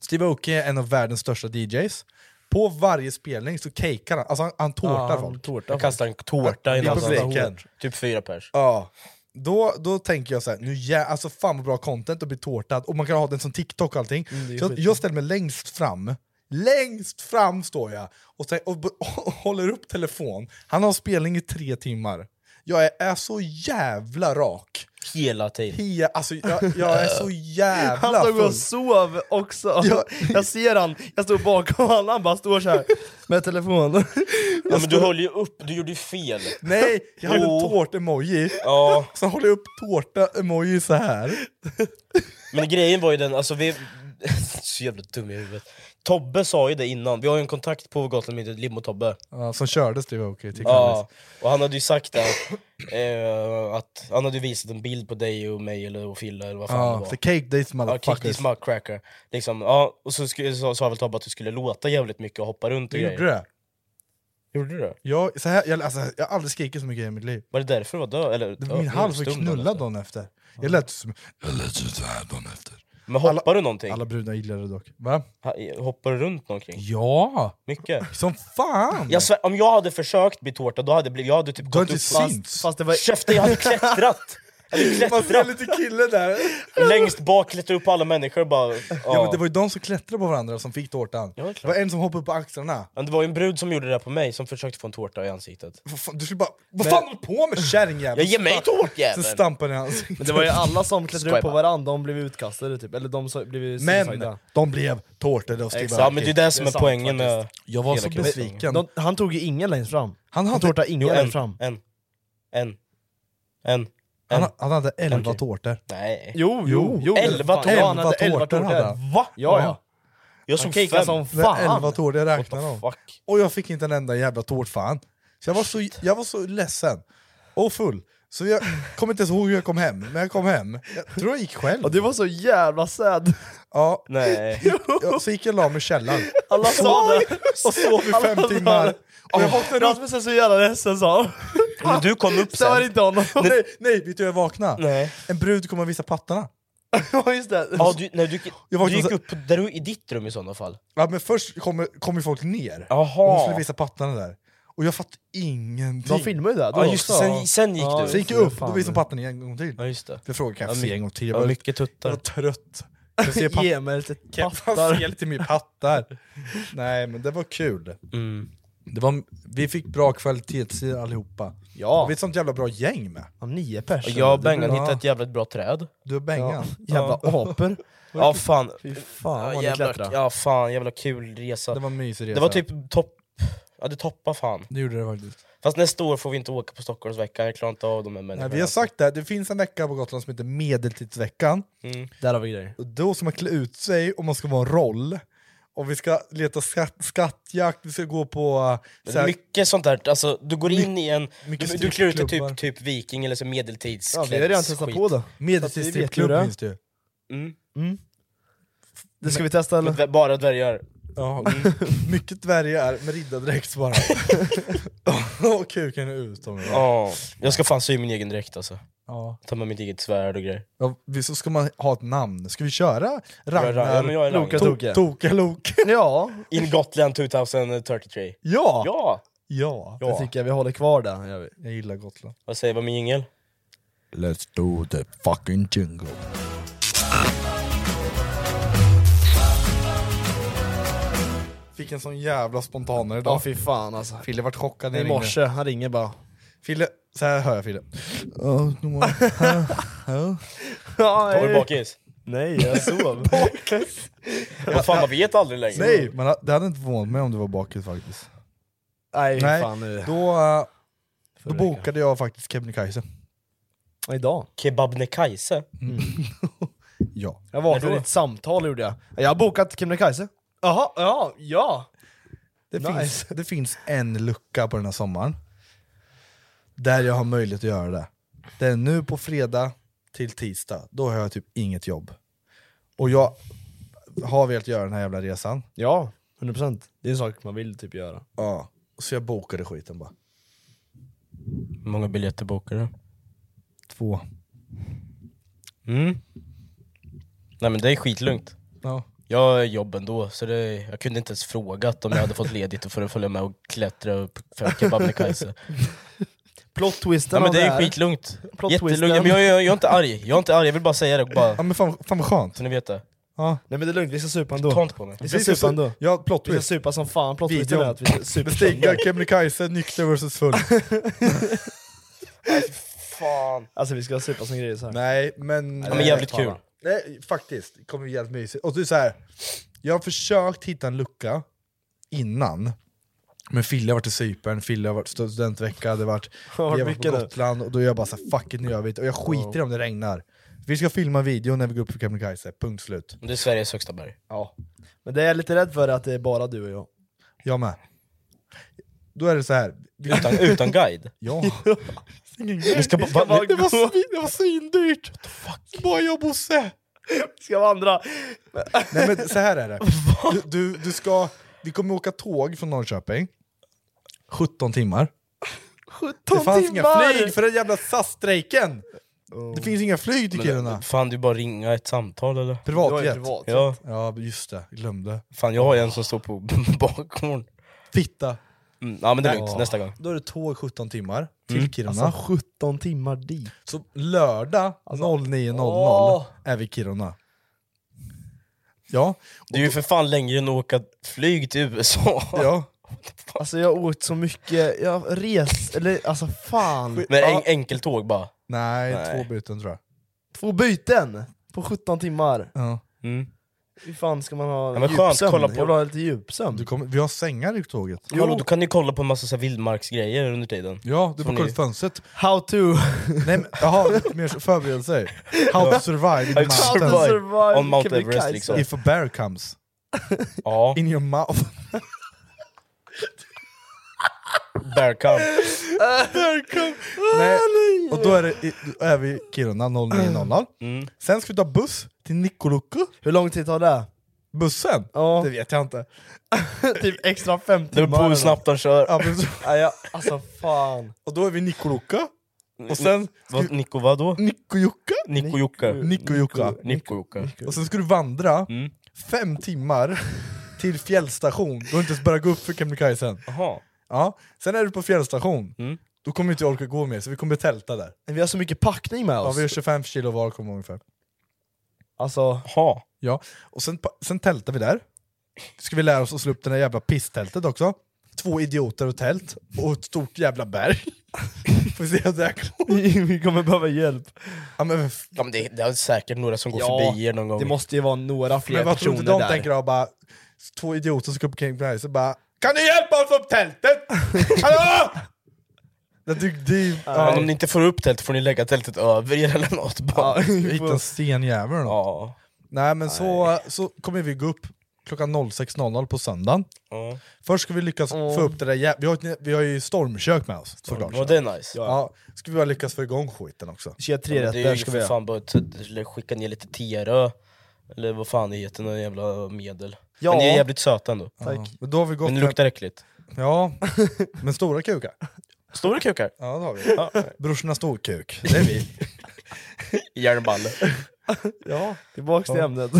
[SPEAKER 5] Steve Aoki är en av världens största DJs. På varje spelning så cakear han, alltså han, han tårtar
[SPEAKER 4] Ja, han
[SPEAKER 5] folk.
[SPEAKER 4] tårtar
[SPEAKER 3] Jag kastar en tårta
[SPEAKER 5] Ja,
[SPEAKER 3] i
[SPEAKER 5] det är
[SPEAKER 3] någon
[SPEAKER 5] publiken.
[SPEAKER 3] Typ fyra pers.
[SPEAKER 5] Ja. Då, då tänker jag så här, nu jä- alltså fan vad bra content att bli tårtad, och man kan ha den som TikTok och allting.
[SPEAKER 4] Mm, det är
[SPEAKER 5] så jag,
[SPEAKER 4] skitbra.
[SPEAKER 5] jag ställer mig längst fram, längst fram står jag, och, så, och, och, håller upp telefon. Han har spelning i tre timmar. Jag är, är så jävla rak.
[SPEAKER 3] Hela tiden.
[SPEAKER 5] He, alltså, jag, jag är så
[SPEAKER 4] Han
[SPEAKER 5] jävla
[SPEAKER 4] stod
[SPEAKER 5] full.
[SPEAKER 4] och sov också.
[SPEAKER 5] Ja.
[SPEAKER 4] Jag ser han, jag stod bakom honom, han bara står så här med telefonen.
[SPEAKER 3] Ja, men du höll ju upp, du gjorde ju fel.
[SPEAKER 5] Nej, jag hade en
[SPEAKER 3] Jo.
[SPEAKER 5] tårt-emoji.
[SPEAKER 3] Ja,
[SPEAKER 5] Sen håller jag upp tårta-emoji så här.
[SPEAKER 3] men grejen var ju den, alltså vi... Så jävla dum i huvudet. Tobbe sa ju det innan, vi har ju en kontakt på Gotland Media, Limo-Tobbe.
[SPEAKER 5] Ja, som kördes det var okej till Kallis.
[SPEAKER 3] Ja, och han hade ju sagt det, eh, att han hade ju visat en bild på dig och mig eller och Fille eller vad fan det
[SPEAKER 5] Ja,
[SPEAKER 3] var.
[SPEAKER 5] the cake days
[SPEAKER 3] Ja, kick
[SPEAKER 5] motherfuckers.
[SPEAKER 3] this muckcracker. Liksom, ja, och så sku- sa sa väl Tobbe att du skulle låta jävligt mycket och hoppa runt och
[SPEAKER 5] Du
[SPEAKER 3] grejer.
[SPEAKER 5] gjorde det?
[SPEAKER 3] Gjorde du det?
[SPEAKER 5] Jag, så här, jag, alltså, jag har aldrig skrikit så mycket i hela mitt liv.
[SPEAKER 3] Var det därför du var död? Eller,
[SPEAKER 5] Det
[SPEAKER 3] ja,
[SPEAKER 5] var min
[SPEAKER 3] du
[SPEAKER 5] hals var
[SPEAKER 3] stum då,
[SPEAKER 5] knullad
[SPEAKER 3] nästan.
[SPEAKER 5] dagen efter. Jag lät som... Jag lät så här dagen efter.
[SPEAKER 3] Men hoppar
[SPEAKER 5] Alla-
[SPEAKER 3] du någonting?
[SPEAKER 5] Alla brudar gillade det dock. Va?
[SPEAKER 3] Ha- Hoppar du runt någonting?
[SPEAKER 5] Ja!
[SPEAKER 3] Mycket?
[SPEAKER 5] Som fan!
[SPEAKER 3] Jag svär, om jag hade försökt bli tårta, då hade jag blivit, jag hade typ
[SPEAKER 5] du har
[SPEAKER 3] gått
[SPEAKER 5] inte
[SPEAKER 3] upp fast...
[SPEAKER 5] synts.
[SPEAKER 4] Fast det var...
[SPEAKER 3] Käften, jag hade klättrat! Jag hade klättrat
[SPEAKER 5] lite kille där.
[SPEAKER 3] längst bak, klättrat upp på alla människor och bara... Ja.
[SPEAKER 5] Ja, men det var ju de som klättrade på varandra som fick tårtan.
[SPEAKER 3] Ja, det är
[SPEAKER 5] det
[SPEAKER 3] klart.
[SPEAKER 5] var en som hoppade upp på axlarna.
[SPEAKER 3] Men det var ju en brud som gjorde det där på mig, som försökte få en tårta i ansiktet.
[SPEAKER 5] Vad fan, du skulle bara... Vad fan håller du på med kärringjävel?
[SPEAKER 3] Jag ger mig
[SPEAKER 5] Sen
[SPEAKER 3] tårtjävel!
[SPEAKER 5] stampade han i ansiktet.
[SPEAKER 4] Men det var ju alla som klättrade
[SPEAKER 3] Skojar
[SPEAKER 4] upp på
[SPEAKER 3] bara.
[SPEAKER 4] varandra, de blev utkastade typ, eller de så- blev
[SPEAKER 5] Men
[SPEAKER 4] suicida.
[SPEAKER 5] de blev tårtade och
[SPEAKER 4] Exakt.
[SPEAKER 3] Ja
[SPEAKER 5] stivade.
[SPEAKER 3] men det är det som
[SPEAKER 4] Det
[SPEAKER 3] är,
[SPEAKER 4] är sant
[SPEAKER 3] poängen med...
[SPEAKER 5] Jag var
[SPEAKER 3] Hela
[SPEAKER 5] så
[SPEAKER 3] kvällen.
[SPEAKER 5] besviken.
[SPEAKER 4] De, han tog ju ingen längst fram. Han
[SPEAKER 5] Han hade,
[SPEAKER 4] tårtade ingen
[SPEAKER 3] Jo, en,
[SPEAKER 4] längst fram.
[SPEAKER 3] en, en, en.
[SPEAKER 5] han, ha- han hade elva
[SPEAKER 3] Okej.
[SPEAKER 5] tårtor.
[SPEAKER 3] Nej.
[SPEAKER 4] Jo, jo, jo.
[SPEAKER 3] Elva
[SPEAKER 4] Fan, ja, han
[SPEAKER 5] Elva
[SPEAKER 4] hade elva
[SPEAKER 5] tårtor hade han.
[SPEAKER 4] tårtor. Va? Ja, ja.
[SPEAKER 3] Jag
[SPEAKER 4] Han
[SPEAKER 3] såg
[SPEAKER 4] kikade
[SPEAKER 3] fem.
[SPEAKER 4] som
[SPEAKER 5] Det är
[SPEAKER 4] fan.
[SPEAKER 5] elva tårtor jag
[SPEAKER 3] What the
[SPEAKER 5] räknar dem.
[SPEAKER 3] fuck?
[SPEAKER 5] Och jag fick inte en enda jävla tårtfan. Så jag var så, jag var så ledsen. Och full. Så jag kommer inte ens ihåg hur jag kom hem, men jag kom hem. Jag tror jag gick själv.
[SPEAKER 4] Och du var så jävla sad.
[SPEAKER 5] Ja,
[SPEAKER 3] Nej.
[SPEAKER 5] jag, så gick jag och la mig i källaren.
[SPEAKER 4] Alla sa det.
[SPEAKER 5] Och sov i fem
[SPEAKER 4] Alla
[SPEAKER 5] timmar. Och jag vaknade upp.
[SPEAKER 4] Rasmus är så jävla ledsen sa han.
[SPEAKER 3] Men du kom upp
[SPEAKER 4] Så var det
[SPEAKER 3] sen.
[SPEAKER 4] inte honom.
[SPEAKER 5] Nej, nej, vet du hur jag vaknade?
[SPEAKER 3] Nej.
[SPEAKER 5] En brud kom och visade pattarna.
[SPEAKER 4] Ja, just det.
[SPEAKER 3] Ja, du, nej, du,
[SPEAKER 5] Jag vaknade
[SPEAKER 3] du gick
[SPEAKER 5] så-
[SPEAKER 3] upp på, där du, i ditt rum i sådana fall.
[SPEAKER 5] Ja, men först kom, kom ju folk ner. Och de skulle
[SPEAKER 3] Jaha.
[SPEAKER 5] visa pattarna där. Och jag fattade ingenting.
[SPEAKER 4] De filmade ju det. då
[SPEAKER 3] Ja just det,
[SPEAKER 4] också.
[SPEAKER 3] sen, sen gick
[SPEAKER 4] Ja,
[SPEAKER 5] Så
[SPEAKER 3] du.
[SPEAKER 5] gick jag upp,
[SPEAKER 4] Fan.
[SPEAKER 5] då visade pattarna en gång till.
[SPEAKER 3] Ja just det.
[SPEAKER 5] Jag frågade kan
[SPEAKER 3] Ja,
[SPEAKER 5] jag få
[SPEAKER 3] my-
[SPEAKER 5] se en gång till?
[SPEAKER 3] Det
[SPEAKER 5] Jag
[SPEAKER 3] var
[SPEAKER 5] var,
[SPEAKER 3] mycket
[SPEAKER 5] jag var
[SPEAKER 3] tuttar.
[SPEAKER 5] trött. Jag ser papper.
[SPEAKER 4] Ge mig lite
[SPEAKER 5] Fan,
[SPEAKER 4] pattar.
[SPEAKER 5] fel till min pattar. Nej, men det var kul.
[SPEAKER 3] Mm.
[SPEAKER 5] Det var, vi fick bra kvalitetstid allihopa. Och
[SPEAKER 4] Ja,
[SPEAKER 5] Vi är ett sånt jävla bra gäng med.
[SPEAKER 4] Ja, nio pers.
[SPEAKER 3] Och jag och
[SPEAKER 5] det blir
[SPEAKER 3] Bengan
[SPEAKER 5] bra.
[SPEAKER 3] hittade ett jävligt bra träd.
[SPEAKER 5] Du och Bengan.
[SPEAKER 4] Jävla apor.
[SPEAKER 3] Ja fan.
[SPEAKER 4] Fy fan
[SPEAKER 3] Ja,
[SPEAKER 4] vad ni
[SPEAKER 3] jävla,
[SPEAKER 4] klättrade.
[SPEAKER 3] ja fan, jävla kul resa.
[SPEAKER 5] Det var en mysig resa.
[SPEAKER 3] Det var typ topp... Ja det toppar fan.
[SPEAKER 5] Det gjorde det faktiskt.
[SPEAKER 3] Fast nästa år får vi inte åka på Stockholmsveckan, jag alltså klarar inte av de här
[SPEAKER 5] Nej,
[SPEAKER 3] människorna.
[SPEAKER 5] vi har sagt det, här, det finns en vecka på Gotland som heter medeltidsveckan.
[SPEAKER 3] Mm.
[SPEAKER 4] Där har vi grejer.
[SPEAKER 5] Och Då ska man klä ut sig och man ska vara en roll. Och vi ska leta skatt, skattjakt, vi ska gå på...
[SPEAKER 3] Men
[SPEAKER 5] äh,
[SPEAKER 3] det
[SPEAKER 5] Så
[SPEAKER 3] är
[SPEAKER 5] här,
[SPEAKER 3] Mycket sånt där, alltså du går in i en... Du,
[SPEAKER 5] mycket
[SPEAKER 3] du klär ut dig
[SPEAKER 5] stripklubbar.
[SPEAKER 3] typ, typ viking eller så medeltids
[SPEAKER 4] Ja, vi har redan testat på det.
[SPEAKER 5] medeltidsstrippklubb
[SPEAKER 4] Så att vi vet ju det.
[SPEAKER 5] finns det ju.
[SPEAKER 3] Mm.
[SPEAKER 4] Det ska vi testa
[SPEAKER 3] Men
[SPEAKER 4] eller?
[SPEAKER 3] dvä- bara dvärgar. Mm.
[SPEAKER 5] Ja, mycket dvärgar med riddardräkt bara. och kuken är ut. om det var.
[SPEAKER 3] Ja. Jag ska fan sy min egen dräkt alltså.
[SPEAKER 5] Ja.
[SPEAKER 3] Ta med mitt eget svärd och grejer.
[SPEAKER 5] Ja, vi- så ska man ha ett namn. Ska vi köra Ragnar,
[SPEAKER 3] Ja, men jag är Ragnar.
[SPEAKER 5] Loka, Toke? Toka, Loke?
[SPEAKER 4] Ja,
[SPEAKER 3] In Gotland 2033.
[SPEAKER 5] Ja! ja!
[SPEAKER 3] Ja!
[SPEAKER 4] jag
[SPEAKER 3] ja.
[SPEAKER 4] tycker vi håller kvar det. gör vi.
[SPEAKER 5] Jag gillar Gotland.
[SPEAKER 3] Vad säger vad min jingel?
[SPEAKER 5] Let's do the fucking jungle. Fick en sån jävla spontanare
[SPEAKER 4] Ja
[SPEAKER 5] idag.
[SPEAKER 4] fy fan alltså.
[SPEAKER 5] Fille vart chockad när
[SPEAKER 4] I
[SPEAKER 5] jag ringde.
[SPEAKER 4] morse, han ringer bara.
[SPEAKER 5] Fille, så här hör jag Fille.
[SPEAKER 3] Har
[SPEAKER 4] eh,
[SPEAKER 3] du bakis?
[SPEAKER 4] Nej, jag sov.
[SPEAKER 3] Vad fan, man vet aldrig längre.
[SPEAKER 5] Nej, men det hade inte förvånat mig om du var bakis faktiskt.
[SPEAKER 4] Nej,
[SPEAKER 5] Nej,
[SPEAKER 4] fan nu.
[SPEAKER 5] Då, eh,
[SPEAKER 4] Förra
[SPEAKER 5] då
[SPEAKER 4] veckan.
[SPEAKER 5] bokade jag faktiskt Kebnekaise.
[SPEAKER 4] Idag. Mm.
[SPEAKER 3] Kebabnekaise?
[SPEAKER 5] Ja.
[SPEAKER 4] Jag
[SPEAKER 3] Mm. När
[SPEAKER 4] vaknade
[SPEAKER 3] då?
[SPEAKER 4] i ett samtal gjorde jag. Jag har bokat Kebnekaise. Jaha, ja, ja.
[SPEAKER 5] Det,
[SPEAKER 4] Nice.
[SPEAKER 5] finns, det finns en lucka på den här sommaren där jag har möjlighet att göra det. Det är nu på fredag till tisdag, då har jag typ inget jobb. Och jag har velat göra den här jävla resan,
[SPEAKER 4] Ja, 100%. Det är en sak man vill typ göra.
[SPEAKER 5] ja. så jag bokade skiten bara.
[SPEAKER 3] Hur många biljetter bokade du?
[SPEAKER 5] Två.
[SPEAKER 3] Mm. Nej men det är skitlugnt.
[SPEAKER 5] Ja.
[SPEAKER 3] Jag har jobb ändå, så det, jag kunde inte ens frågat om jag hade fått ledigt för att följa med och klättra upp för Kebnekaise.
[SPEAKER 4] Plot twisten
[SPEAKER 3] Nej men det är
[SPEAKER 4] av här-
[SPEAKER 3] skitlugnt.
[SPEAKER 4] Plot
[SPEAKER 3] Jättelugnt.
[SPEAKER 4] twisten.
[SPEAKER 3] Nej, men jag, jag, jag är inte arg, jag är inte arg, jag vill bara säga det och bara,
[SPEAKER 5] Ja men fan, fan vad skönt.
[SPEAKER 3] så ni vet det.
[SPEAKER 5] Ja.
[SPEAKER 4] Nej men det är lugnt, vi ska supa ändå.
[SPEAKER 3] Ta inte på mig.
[SPEAKER 4] Vi ska supa ändå.
[SPEAKER 5] typ- Ja, plot
[SPEAKER 4] Vi ska
[SPEAKER 5] twist.
[SPEAKER 4] supa som fan, plot twisten
[SPEAKER 5] Videon.
[SPEAKER 4] är att vi ska supa
[SPEAKER 5] Bestiga
[SPEAKER 4] sönder.
[SPEAKER 5] Kebnekaise, nykter versus full.
[SPEAKER 3] Fan.
[SPEAKER 4] Alltså vi ska supa som grejer så här.
[SPEAKER 5] Nej men...
[SPEAKER 3] Ja, men jävligt
[SPEAKER 5] Fan.
[SPEAKER 3] kul.
[SPEAKER 5] Nej faktiskt, det kommer bli jävligt mysigt. Och det är så här, jag har försökt hitta en lucka innan. Men Fille har varit i Cypern, Fille har varit stu- studentvecka, det har varit,
[SPEAKER 4] har varit
[SPEAKER 5] vi har varit på
[SPEAKER 4] mycket nu.
[SPEAKER 5] Gotland, och då är jag bara så här, fuck it nu gör vi det. Och jag skiter i om det regnar. Vi ska filma en video när vi går upp för Kebnekaise, punkt slut.
[SPEAKER 3] Det är Sveriges högsta berg.
[SPEAKER 4] Ja. Men det är jag lite rädd för att det är bara du och jag.
[SPEAKER 5] Jag med. Då är det så här. vi-
[SPEAKER 3] Utan, utan guide.
[SPEAKER 5] Ja.
[SPEAKER 3] Vi ska bara,
[SPEAKER 4] ska bara-
[SPEAKER 5] Det var, svin, det var svindyrt! Bara jag och Bosse!
[SPEAKER 4] Ska vandra.
[SPEAKER 5] Nej men så här är det. Du, du, du ska, vi kommer åka tåg från Norrköping, 17 timmar.
[SPEAKER 4] 17
[SPEAKER 5] Det fanns
[SPEAKER 4] timmar! Oh.
[SPEAKER 5] inga flyg för den jävla SAS-strejken! Det finns inga flyg till Kiruna.
[SPEAKER 3] fan du bara ringa ett samtal eller?
[SPEAKER 4] Det var ju
[SPEAKER 5] Privatjet.
[SPEAKER 4] privat.
[SPEAKER 3] Ja,
[SPEAKER 5] Ja just det, jag glömde.
[SPEAKER 3] fan jag har ju en som står på bakgården.
[SPEAKER 5] Fitta!
[SPEAKER 3] Mm, ja men det är lugnt,
[SPEAKER 5] Ja.
[SPEAKER 3] nästa gång. Mm.
[SPEAKER 5] Då är det tåg 17 timmar till Kiruna.
[SPEAKER 4] Alltså 17 timmar dit.
[SPEAKER 5] så lördag
[SPEAKER 3] Alltså,
[SPEAKER 5] 09.00
[SPEAKER 4] Åh.
[SPEAKER 5] är vi i Kiruna. Ja,
[SPEAKER 3] Det är ju för fan längre än att åka flyg till USA.
[SPEAKER 5] ja.
[SPEAKER 4] Alltså jag åkt så mycket, jag res... eller alltså fan.
[SPEAKER 3] Men en,
[SPEAKER 4] Ja,
[SPEAKER 3] enkeltåg bara.
[SPEAKER 5] Nej,
[SPEAKER 3] Nej.
[SPEAKER 5] två byten tror jag.
[SPEAKER 4] två byten på 17 timmar.
[SPEAKER 5] Ja.
[SPEAKER 3] Mm.
[SPEAKER 4] Hur fan ska man ha
[SPEAKER 3] Ja, men skönt,
[SPEAKER 4] djupsömn?
[SPEAKER 3] kolla på-
[SPEAKER 4] Jag vill ha lite djupsömn.
[SPEAKER 5] Du kommer, vi har sängar i tåget.
[SPEAKER 3] Hallå, då kan ni kolla på en massa så här vildmarksgrejer under tiden.
[SPEAKER 5] Ja, du
[SPEAKER 3] Får
[SPEAKER 5] får kolla
[SPEAKER 3] ni-
[SPEAKER 5] ut fönstret.
[SPEAKER 4] How to...
[SPEAKER 5] Nej, men, jaha, lite mer förberedelser. How to survive in the
[SPEAKER 3] How to
[SPEAKER 4] How to
[SPEAKER 5] mountains.
[SPEAKER 3] survive.
[SPEAKER 4] survive
[SPEAKER 3] On Mount
[SPEAKER 4] Kebnekaise.
[SPEAKER 3] Everest, liksom.
[SPEAKER 5] If a bear comes,
[SPEAKER 3] Ja,
[SPEAKER 5] in your mouth.
[SPEAKER 3] bear camp.
[SPEAKER 4] Ah,
[SPEAKER 5] Nej. Och då är, det, i- då är vi i Kiruna 09.00.
[SPEAKER 3] Mm.
[SPEAKER 5] Sen ska vi ta buss till Nikkaluokka.
[SPEAKER 4] Hur lång tid tar det?
[SPEAKER 5] Bussen?
[SPEAKER 4] Ja.
[SPEAKER 5] Det vet jag inte.
[SPEAKER 4] typ extra 5
[SPEAKER 3] Det
[SPEAKER 4] timmar.
[SPEAKER 3] beror på hur
[SPEAKER 4] eller
[SPEAKER 3] snabbt de kör.
[SPEAKER 5] Ja, men så-
[SPEAKER 4] Nej, jag, alltså fan.
[SPEAKER 5] och då är vi i Nikkaluokka. Och sen
[SPEAKER 3] Vad, Nico vadå?
[SPEAKER 5] Nikkaluokka.
[SPEAKER 3] Nico Jocke.
[SPEAKER 5] Nikkaluokka.
[SPEAKER 3] Nico Jocke.
[SPEAKER 5] Och sen ska du vandra
[SPEAKER 3] Mm.
[SPEAKER 5] fem timmar till fjällstation. Du har inte ens börjat gå upp för Kebnekaise än.
[SPEAKER 3] Jaha.
[SPEAKER 5] Ja. Sen är du på fjällstation.
[SPEAKER 4] Mm.
[SPEAKER 5] Då kommer inte jag orka gå mer, så vi kommer tälta där.
[SPEAKER 4] Men Vi har så mycket packning med
[SPEAKER 5] Ja,
[SPEAKER 4] oss.
[SPEAKER 5] vi har 25 kilo var kommer jag ihåg ungefär.
[SPEAKER 4] Alltså,
[SPEAKER 3] Jaha.
[SPEAKER 5] Ja, och sen, pa- sen tältar vi där. Ska vi lära oss att slå upp det där jävla pisstältet också. Två idioter och tält, och ett stort jävla berg. Får se om det här går.
[SPEAKER 4] vi kommer behöva hjälp.
[SPEAKER 5] Ja, men, f-
[SPEAKER 3] Ja, men det, det är säkert några som går
[SPEAKER 4] Ja,
[SPEAKER 3] förbi er någon gång.
[SPEAKER 4] Det måste ju vara några fler
[SPEAKER 5] men vad tror du
[SPEAKER 4] personer
[SPEAKER 5] inte de
[SPEAKER 4] där.
[SPEAKER 5] tänker då? Bara, två idioter som ska upp kring berg, så bara Kan ni hjälpa oss upp tältet? Hallå! Det, det, det,
[SPEAKER 3] Men
[SPEAKER 5] ja,
[SPEAKER 3] om ni inte får upp tältet får ni lägga tältet över er eller något. Bara.
[SPEAKER 4] Ja, vi
[SPEAKER 5] hitta en
[SPEAKER 4] får-
[SPEAKER 5] stenjävel då.
[SPEAKER 3] Ja.
[SPEAKER 5] Nej men så, så kommer vi gå upp klockan 06.00 på söndagen.
[SPEAKER 3] Ja.
[SPEAKER 5] Först ska vi lyckas få upp det där jä- vi, har, ett- vi har ju stormkök med oss såklart.
[SPEAKER 3] Ja, det är nice.
[SPEAKER 5] Ja, ska vi bara lyckas få igång skiten också.
[SPEAKER 4] 23
[SPEAKER 3] Ja, men
[SPEAKER 4] rätter
[SPEAKER 3] det är ju
[SPEAKER 4] ska vi
[SPEAKER 3] för
[SPEAKER 4] göra.
[SPEAKER 3] fan bara att t- skicka ner lite Tierö, eller vad fan det heter, någon jävla medel.
[SPEAKER 4] Ja.
[SPEAKER 3] Men det är jävligt söta ändå.
[SPEAKER 5] Ja, men då har vi gått
[SPEAKER 3] Men det luktar äckligt.
[SPEAKER 5] Ja, men stora kukar.
[SPEAKER 3] Stora kukar,
[SPEAKER 5] Ja, det har vi. Brorsorna Storkuk, det är vi.
[SPEAKER 3] järnballe.
[SPEAKER 4] Ja, tillbaks till ämnet.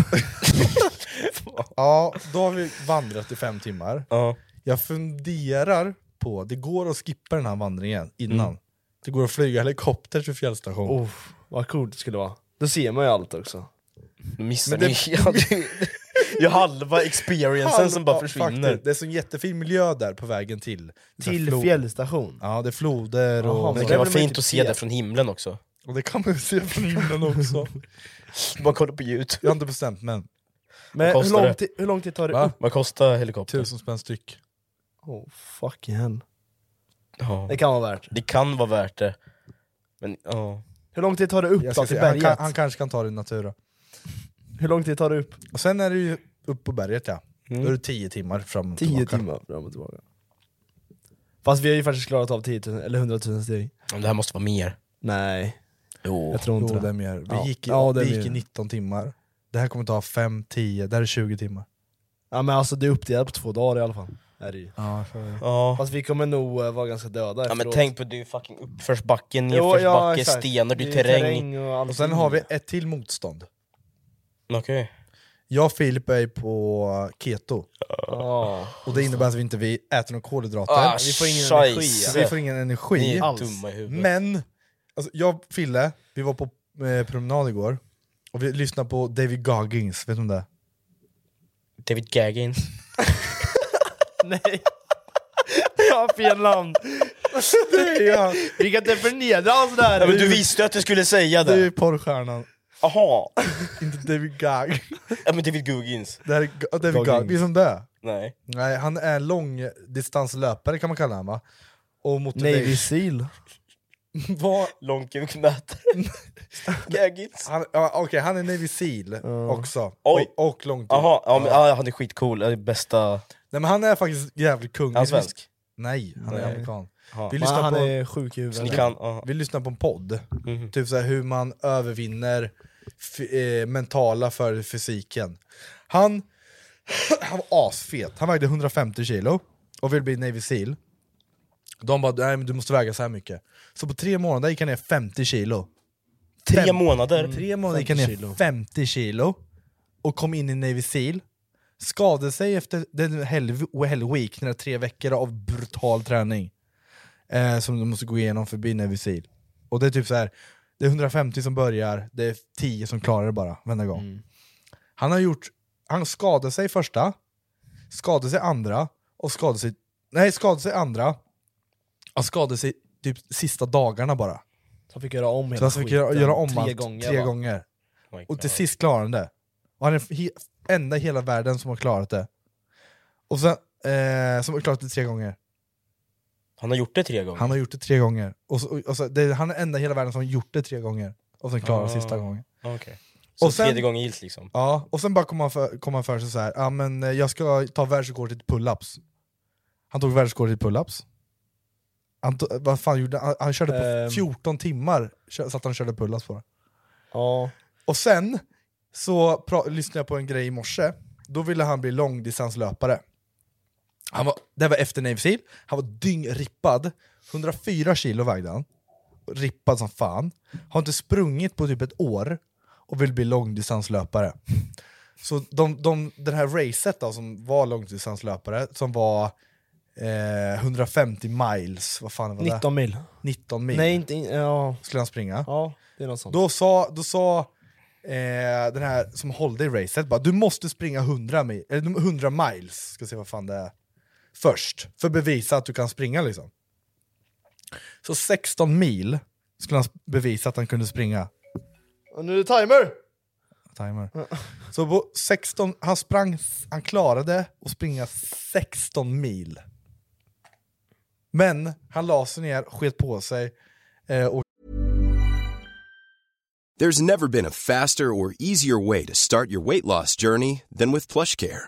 [SPEAKER 5] Ja, då har vi vandrat i fem timmar.
[SPEAKER 3] Ja.
[SPEAKER 5] Jag funderar på, det går att skippa den här vandringen innan.
[SPEAKER 3] Mm.
[SPEAKER 5] Det går att flyga helikopter till fjällstation.
[SPEAKER 4] Oh, vad coolt det skulle vara. Då ser man ju allt också.
[SPEAKER 3] Nu missar
[SPEAKER 5] Men det-
[SPEAKER 3] ni ja, det- ju halva experiencen som bara
[SPEAKER 5] Ja,
[SPEAKER 3] försvinner.
[SPEAKER 5] faktiskt. Det är så en jättefin miljö där på vägen till. Så här
[SPEAKER 4] Till
[SPEAKER 5] flod-
[SPEAKER 4] fjällstation.
[SPEAKER 5] Ja, det är floder
[SPEAKER 4] Jaha,
[SPEAKER 5] och...
[SPEAKER 3] Men det
[SPEAKER 4] men
[SPEAKER 3] kan
[SPEAKER 4] det
[SPEAKER 3] vara
[SPEAKER 4] vill man
[SPEAKER 3] fint
[SPEAKER 4] inte
[SPEAKER 3] att se
[SPEAKER 4] se.
[SPEAKER 3] det från himlen också.
[SPEAKER 5] och det kan man se från himlen också.
[SPEAKER 3] Bara kolla på youtube.
[SPEAKER 5] Jag har inte bestämt men,
[SPEAKER 4] Men
[SPEAKER 3] Vad
[SPEAKER 4] hur
[SPEAKER 3] kostar
[SPEAKER 4] lång,
[SPEAKER 3] det?
[SPEAKER 4] tid, hur lång tid tar det
[SPEAKER 5] Va?
[SPEAKER 4] upp?
[SPEAKER 3] Vad kostar helikoptern?
[SPEAKER 5] tusen spänn styck.
[SPEAKER 4] Oh, fucking hell.
[SPEAKER 3] Ja.
[SPEAKER 4] Det kan vara värt.
[SPEAKER 3] Det kan vara värt det. Men ja.
[SPEAKER 4] Hur lång tid tar det
[SPEAKER 5] Jag
[SPEAKER 4] upp
[SPEAKER 5] ska
[SPEAKER 4] då till
[SPEAKER 5] se, han,
[SPEAKER 4] berget?
[SPEAKER 5] kan, han kanske kan ta det i natura.
[SPEAKER 4] Hur lång tid tar det upp?
[SPEAKER 5] Och sen är det ju upp på berget ja. Då är det 10 timmar fram och
[SPEAKER 4] 10
[SPEAKER 5] tillbaka.
[SPEAKER 4] Mm. timmar fram och tillbaka. Fast vi har ju faktiskt klarat av 10 000, eller 100 000 steg.
[SPEAKER 3] Men Det här måste vara mer.
[SPEAKER 4] Nej,
[SPEAKER 3] Jo.
[SPEAKER 4] jag tror inte
[SPEAKER 5] Jo, det
[SPEAKER 4] det.
[SPEAKER 5] är mer. Vi
[SPEAKER 4] Ja.
[SPEAKER 5] gick, i,
[SPEAKER 4] Ja, det är
[SPEAKER 5] vi gick i
[SPEAKER 4] mer.
[SPEAKER 5] 19 timmar. Det här kommer ta 5, 10, det här är 20 timmar.
[SPEAKER 4] Ja men alltså det är uppdelat på två dagar i alla fall.
[SPEAKER 11] är det ju.
[SPEAKER 5] Ja,
[SPEAKER 11] Fast vi kommer nog eh, vara ganska döda
[SPEAKER 3] Ja men
[SPEAKER 11] efteråt.
[SPEAKER 3] tänk på det är ju fucking uppförsbacke,
[SPEAKER 11] Jo,
[SPEAKER 3] nedförsbacke,
[SPEAKER 11] exakt.
[SPEAKER 3] stenar, det är
[SPEAKER 11] ju
[SPEAKER 3] terräng.
[SPEAKER 11] och,
[SPEAKER 5] Och sen har vi ett till motstånd.
[SPEAKER 3] Okej.
[SPEAKER 5] Jag och Filip är på keto.
[SPEAKER 11] Ah.
[SPEAKER 5] Och det innebär att vi inte vi äter några kolhydrater.
[SPEAKER 3] Ah,
[SPEAKER 5] vi får ingen
[SPEAKER 3] scheisse.
[SPEAKER 5] energi. Vi får ingen energi
[SPEAKER 3] Ni är
[SPEAKER 5] alls.
[SPEAKER 3] dumma i huvudet.
[SPEAKER 5] Men, alltså, jag och Fille, vi var på eh, promenad igår. Och vi lyssnade på David Goggins, vet du om det är?
[SPEAKER 3] David Gaggins.
[SPEAKER 11] Nej. Jag har fel namn. Vi kan inte förnedra honom sådär.
[SPEAKER 3] Ja, men du visste ju att du skulle säga
[SPEAKER 5] Det är ju
[SPEAKER 3] det!
[SPEAKER 5] porrstjärnan.
[SPEAKER 3] Jaha!
[SPEAKER 5] Inte David Gagg.
[SPEAKER 3] Ja men David Goggins.
[SPEAKER 5] Det här är G- David Gagg, visst om det?
[SPEAKER 3] Nej.
[SPEAKER 5] Nej, han är långdistanslöpare kan man kalla honom va? Och
[SPEAKER 11] Navy
[SPEAKER 5] motivation.
[SPEAKER 11] Seal.
[SPEAKER 5] Vad-
[SPEAKER 3] Långkukmätare. Gaggins.
[SPEAKER 5] han, ja, okej, han är Navy Seal också.
[SPEAKER 3] Oj.
[SPEAKER 5] Och, och långt.
[SPEAKER 3] Jaha, ja, men, ja, han är skitcool, det är bästa...
[SPEAKER 5] Nej, men han är faktiskt jävligt kung.
[SPEAKER 3] Är han
[SPEAKER 5] Vi lys-
[SPEAKER 3] svensk?
[SPEAKER 5] Nej, han
[SPEAKER 3] Nej.
[SPEAKER 5] är amerikan.
[SPEAKER 3] Ja.
[SPEAKER 11] Men
[SPEAKER 5] Vi lyssnar,
[SPEAKER 11] han
[SPEAKER 5] på,
[SPEAKER 11] är sjuk i
[SPEAKER 3] Ni
[SPEAKER 11] huvudet.
[SPEAKER 3] kan, ja.
[SPEAKER 5] vi lyssnar på en podd,
[SPEAKER 3] Mhm.
[SPEAKER 5] typ så här, hur man övervinner f- eh, mentala för fysiken. Han, han var asfet, han vägde 150 kilo och ville bli Navy Seal. De bara nej, men du måste väga så här mycket. Så på tre månader gick han ner 50 kilo.
[SPEAKER 3] Tre
[SPEAKER 5] Fem- Mm,
[SPEAKER 3] månader.
[SPEAKER 5] Tre månader gick han ner
[SPEAKER 11] 50 kilo.
[SPEAKER 5] 50 kilo och kom in i Navy Seal. Skadade sig efter den hell, hell week, när det är tre veckor av brutal träning. Eh, som du måste gå igenom förbi Navy Seal. Och det är typ så här. det är 150 som börjar, det är 10 som klarar det bara varenda gång.
[SPEAKER 3] Mm.
[SPEAKER 5] Han har gjort, han skadade sig första, skadade sig andra, och skadade sig, nej skadade sig andra, och skadade sig typ sista dagarna bara.
[SPEAKER 11] Så han fick göra om hela
[SPEAKER 5] Så han fick göra,
[SPEAKER 11] skiten
[SPEAKER 5] göra om
[SPEAKER 11] tre
[SPEAKER 5] allt
[SPEAKER 11] gånger.
[SPEAKER 5] tre
[SPEAKER 11] va?
[SPEAKER 5] gånger.
[SPEAKER 3] Oh my
[SPEAKER 5] Och till
[SPEAKER 3] God.
[SPEAKER 5] sist klarar han det. Och han är he- enda i hela världen som har klarat det. Och sen, eh, som har klarat det tre gånger.
[SPEAKER 3] Han har gjort det tre gånger.
[SPEAKER 5] Han har gjort det tre gånger. Och så, och så, det, är- han är enda i hela världen som har gjort det tre gånger. Och sen klarar han sista
[SPEAKER 3] Ah.
[SPEAKER 5] gången.
[SPEAKER 3] Ah, okej. Så
[SPEAKER 5] Och sen-
[SPEAKER 3] tredje gången gills liksom.
[SPEAKER 5] Ja, och sen bara kom han för, kom han för sig så här, ah, men eh, jag ska ta världsrekordet i pull-ups. Han tog världsrekordet i pull-ups. Han, to- vad fan gjorde han? Han körde på
[SPEAKER 11] Ehm.
[SPEAKER 5] 14 timmar, kö- satt han och körde pull-ups på det.
[SPEAKER 11] Ja.
[SPEAKER 5] Och sen så pra- lyssnade jag på en grej i morse, då ville han bli långdistanslöpare. Han var, det här var efter Navy Seal, han var dyngrippad, 104 kilo vägde han, rippad som fan, har inte sprungit på typ ett år och vill bli långdistanslöpare. Så de, de, det här racet då, som var långdistanslöpare, som var eh, 150 miles, vad fan var det?
[SPEAKER 11] 19 mil.
[SPEAKER 5] 19 mil
[SPEAKER 11] Nej, inte... in- Ja,
[SPEAKER 5] skulle han springa.
[SPEAKER 11] ja det är något sånt.
[SPEAKER 5] Då sa, då sa eh, den här som hållde i racet bara, du måste springa 100, mil, eller 100 miles, ska se vad fan det är, först. För att bevisa att du kan springa liksom. Så 16 mil skulle han bevisa att han kunde springa.
[SPEAKER 11] Och nu är det timer!
[SPEAKER 5] Timer. Så på 16, han sprang, han klarade att springa 16 mil. Men han la sig ner, sket på sig eh, och
[SPEAKER 12] There's never been a faster or easier way to start your weight loss journey than with PlushCare.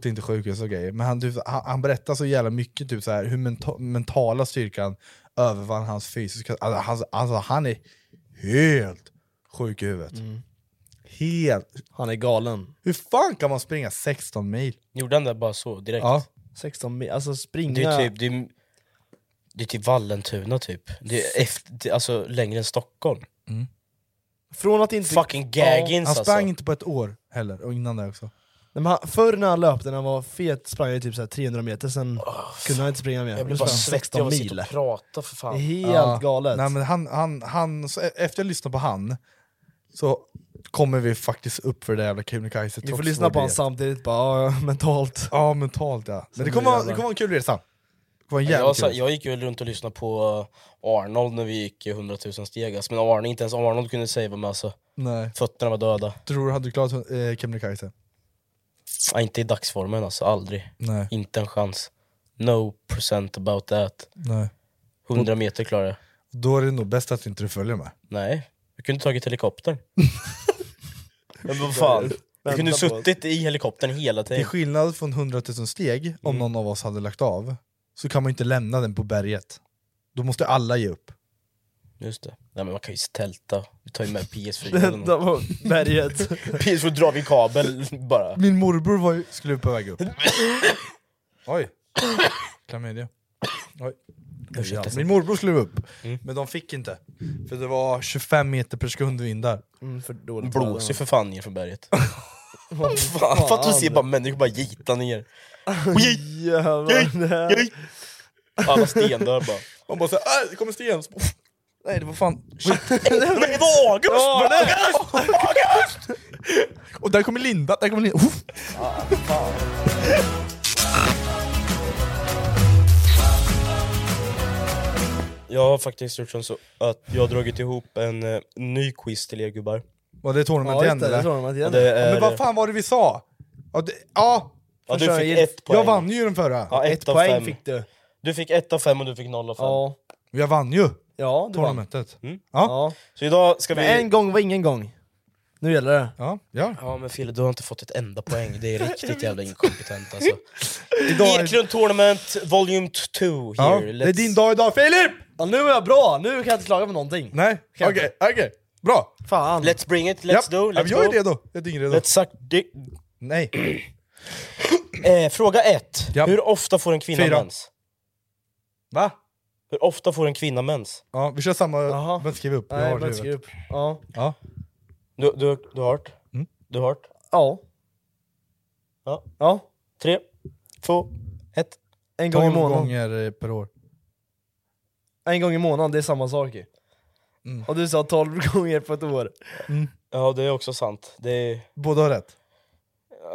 [SPEAKER 5] Det är inte sjukhus och grejer, men han, typ, han, han berättar så jävla mycket typ, så här, hur menta, mentala styrkan övervann hans fysiska... Alltså, han, alltså han är helt sjuk i huvudet.
[SPEAKER 3] Mm.
[SPEAKER 5] Helt.
[SPEAKER 11] Han är galen.
[SPEAKER 5] Hur fan kan man springa 16 mil?
[SPEAKER 3] Gjorde han det bara så direkt?
[SPEAKER 5] Ja.
[SPEAKER 11] 16 mil, alltså springa...
[SPEAKER 3] Det är typ, det är, det är typ Vallentuna typ. Det är efter, det, alltså längre än Stockholm.
[SPEAKER 11] Från att inte...
[SPEAKER 3] Fucking
[SPEAKER 11] Ja.
[SPEAKER 3] gaggins
[SPEAKER 5] Han
[SPEAKER 3] alltså.
[SPEAKER 5] sprang inte på ett år heller, och innan det också.
[SPEAKER 11] Nej, men han, förr när han löpte, när han var fet, sprang han ju typ så här 300 meter, sen kunde han inte springa mer.
[SPEAKER 3] Jag
[SPEAKER 11] Nu
[SPEAKER 3] blir bara
[SPEAKER 11] sprang han
[SPEAKER 3] svettig av att
[SPEAKER 11] 16
[SPEAKER 3] sitta och prata för fan.
[SPEAKER 11] Det är helt
[SPEAKER 5] Ja.
[SPEAKER 11] galet.
[SPEAKER 5] Nej, men han, han, han, så e- efter jag lyssnade på han, så kommer vi faktiskt upp för det jävla Kebnekaise.
[SPEAKER 11] Vi
[SPEAKER 5] trots
[SPEAKER 11] får lyssna
[SPEAKER 5] vår
[SPEAKER 11] på han
[SPEAKER 5] diet.
[SPEAKER 11] samtidigt, bara ja, mentalt.
[SPEAKER 5] Ja, mentalt ja. Men det kommer, vara- det kommer vara en kul resa. Det kommer vara en
[SPEAKER 3] Jag,
[SPEAKER 5] jävligt
[SPEAKER 3] sa-
[SPEAKER 5] kul.
[SPEAKER 3] jag gick ju runt och lyssnade på eh, Arnold när vi gick eh, 100 000 steg, alltså, men Arne, inte ens Arnold kunde savea mig alltså.
[SPEAKER 5] Nej.
[SPEAKER 3] Fötterna var döda.
[SPEAKER 5] Tror du hade du klarat eh, Kebnekaise?
[SPEAKER 3] Nej, inte i dagsformen alltså, aldrig.
[SPEAKER 5] Nej.
[SPEAKER 3] Inte en chans. No percent about that.
[SPEAKER 5] Nej.
[SPEAKER 3] 100 meter klarar jag.
[SPEAKER 5] Då är det nog bäst att inte du följer med.
[SPEAKER 3] Nej, jag kunde tagit helikoptern. Men vad fan. Jag kunde
[SPEAKER 5] Vänta på-
[SPEAKER 3] suttit i helikoptern hela
[SPEAKER 5] Till
[SPEAKER 3] tiden.
[SPEAKER 5] skillnad från 100 000 steg, om
[SPEAKER 3] Mm.
[SPEAKER 5] någon av oss hade lagt av, så kan man ju inte lämna den på berget. Då måste alla ge upp.
[SPEAKER 3] Just det. Nej men man kan ju tälta. Vi tar ju med PS4. eller
[SPEAKER 11] Vänta
[SPEAKER 3] något.
[SPEAKER 11] på berget.
[SPEAKER 3] PS4 drar vi kabel bara.
[SPEAKER 5] Min morbror var ju, skulle på väg upp. Oj. Klamydia. Oj.
[SPEAKER 11] Ursäkta.
[SPEAKER 5] Min morbror skulle upp,
[SPEAKER 3] Mm.
[SPEAKER 5] men de fick inte. För det var 25 meter per sekund vindar.
[SPEAKER 11] Mm, för dåligt
[SPEAKER 3] Blåser ju för fan ner från berget.
[SPEAKER 11] Vad
[SPEAKER 3] fan, fatta att se bara människor bara gita ner.
[SPEAKER 11] Jävlar.
[SPEAKER 3] Oj. Alla stendör bara.
[SPEAKER 5] Man bara såhär, äh, det kommer sten! Så bara, "Pff, Nej det var fan... Shit.
[SPEAKER 3] Nej det var August!
[SPEAKER 5] Ja,
[SPEAKER 3] det
[SPEAKER 5] nej. Och där kommer Linda, där kommer Linda! Uff.
[SPEAKER 3] Jag har faktiskt gjort som så att jag har dragit ihop en eh, ny quiz till er gubbar.
[SPEAKER 5] Var det tournament
[SPEAKER 11] Ja,
[SPEAKER 5] igen
[SPEAKER 11] just det, det är
[SPEAKER 5] eller?
[SPEAKER 11] tournament igen.
[SPEAKER 3] Ja, det är-
[SPEAKER 5] men vad fan var det vi sa? Ja, det, ja.
[SPEAKER 3] Ja, du
[SPEAKER 5] Försök.
[SPEAKER 3] fick ett poäng.
[SPEAKER 5] Jag vann ju den förra!
[SPEAKER 3] Ja, ett, av fem.
[SPEAKER 11] du.
[SPEAKER 3] Du fick ett av fem och du fick noll av fem. Mm.
[SPEAKER 11] Ja.
[SPEAKER 5] Jag vann ju
[SPEAKER 11] Ja, du vann.
[SPEAKER 5] tournamentet.
[SPEAKER 11] Ja.
[SPEAKER 3] Så idag ska vi...
[SPEAKER 11] Men en gång var ingen gång. Nu gäller det.
[SPEAKER 5] Ja, ja.
[SPEAKER 3] Ja men Fille, du har inte fått ett enda poäng. Det är riktigt jävla inkompetent alltså.
[SPEAKER 5] Idag är-
[SPEAKER 3] Eklund Tournament Volume 2 here.
[SPEAKER 5] Ja,
[SPEAKER 3] Let's-
[SPEAKER 5] det är din dag idag Filip!
[SPEAKER 11] Ja, nu är jag bra, nu kan jag inte klaga på någonting.
[SPEAKER 5] Nej, okej,
[SPEAKER 11] Kan
[SPEAKER 5] okej. Bra!
[SPEAKER 11] Fan.
[SPEAKER 3] Let's bring it, let's
[SPEAKER 5] Japp.
[SPEAKER 3] do,
[SPEAKER 5] ja,
[SPEAKER 3] let's
[SPEAKER 5] men jag är
[SPEAKER 3] go.
[SPEAKER 5] redo. Jag är dyngredo.
[SPEAKER 3] Let's suck dick.
[SPEAKER 5] Nej.
[SPEAKER 3] Eh, fråga ett.
[SPEAKER 5] Japp.
[SPEAKER 3] Hur ofta får en kvinna
[SPEAKER 5] Fyra.
[SPEAKER 3] mens?
[SPEAKER 5] Va?
[SPEAKER 3] Hur ofta får en kvinna mens?
[SPEAKER 5] Ja, vi kör samma... Men skriv upp. Jag
[SPEAKER 11] Nej,
[SPEAKER 5] har det i
[SPEAKER 11] men
[SPEAKER 5] huvudet.
[SPEAKER 11] skriv upp. Ja.
[SPEAKER 5] Ja.
[SPEAKER 3] Du, du, du har hört?
[SPEAKER 5] Mm.
[SPEAKER 3] Du har hört?
[SPEAKER 11] Ja.
[SPEAKER 3] Ja.
[SPEAKER 11] ja.
[SPEAKER 3] Tre, två, ett.
[SPEAKER 11] En gång i
[SPEAKER 5] 12
[SPEAKER 11] månaden.
[SPEAKER 5] gånger eh, per år.
[SPEAKER 11] En gång i månaden, det är samma sak ju.
[SPEAKER 5] Mm.
[SPEAKER 11] Och du sa 12 gånger på ett år.
[SPEAKER 3] Mm. Ja, det är också sant. Det är,
[SPEAKER 5] Båda har rätt.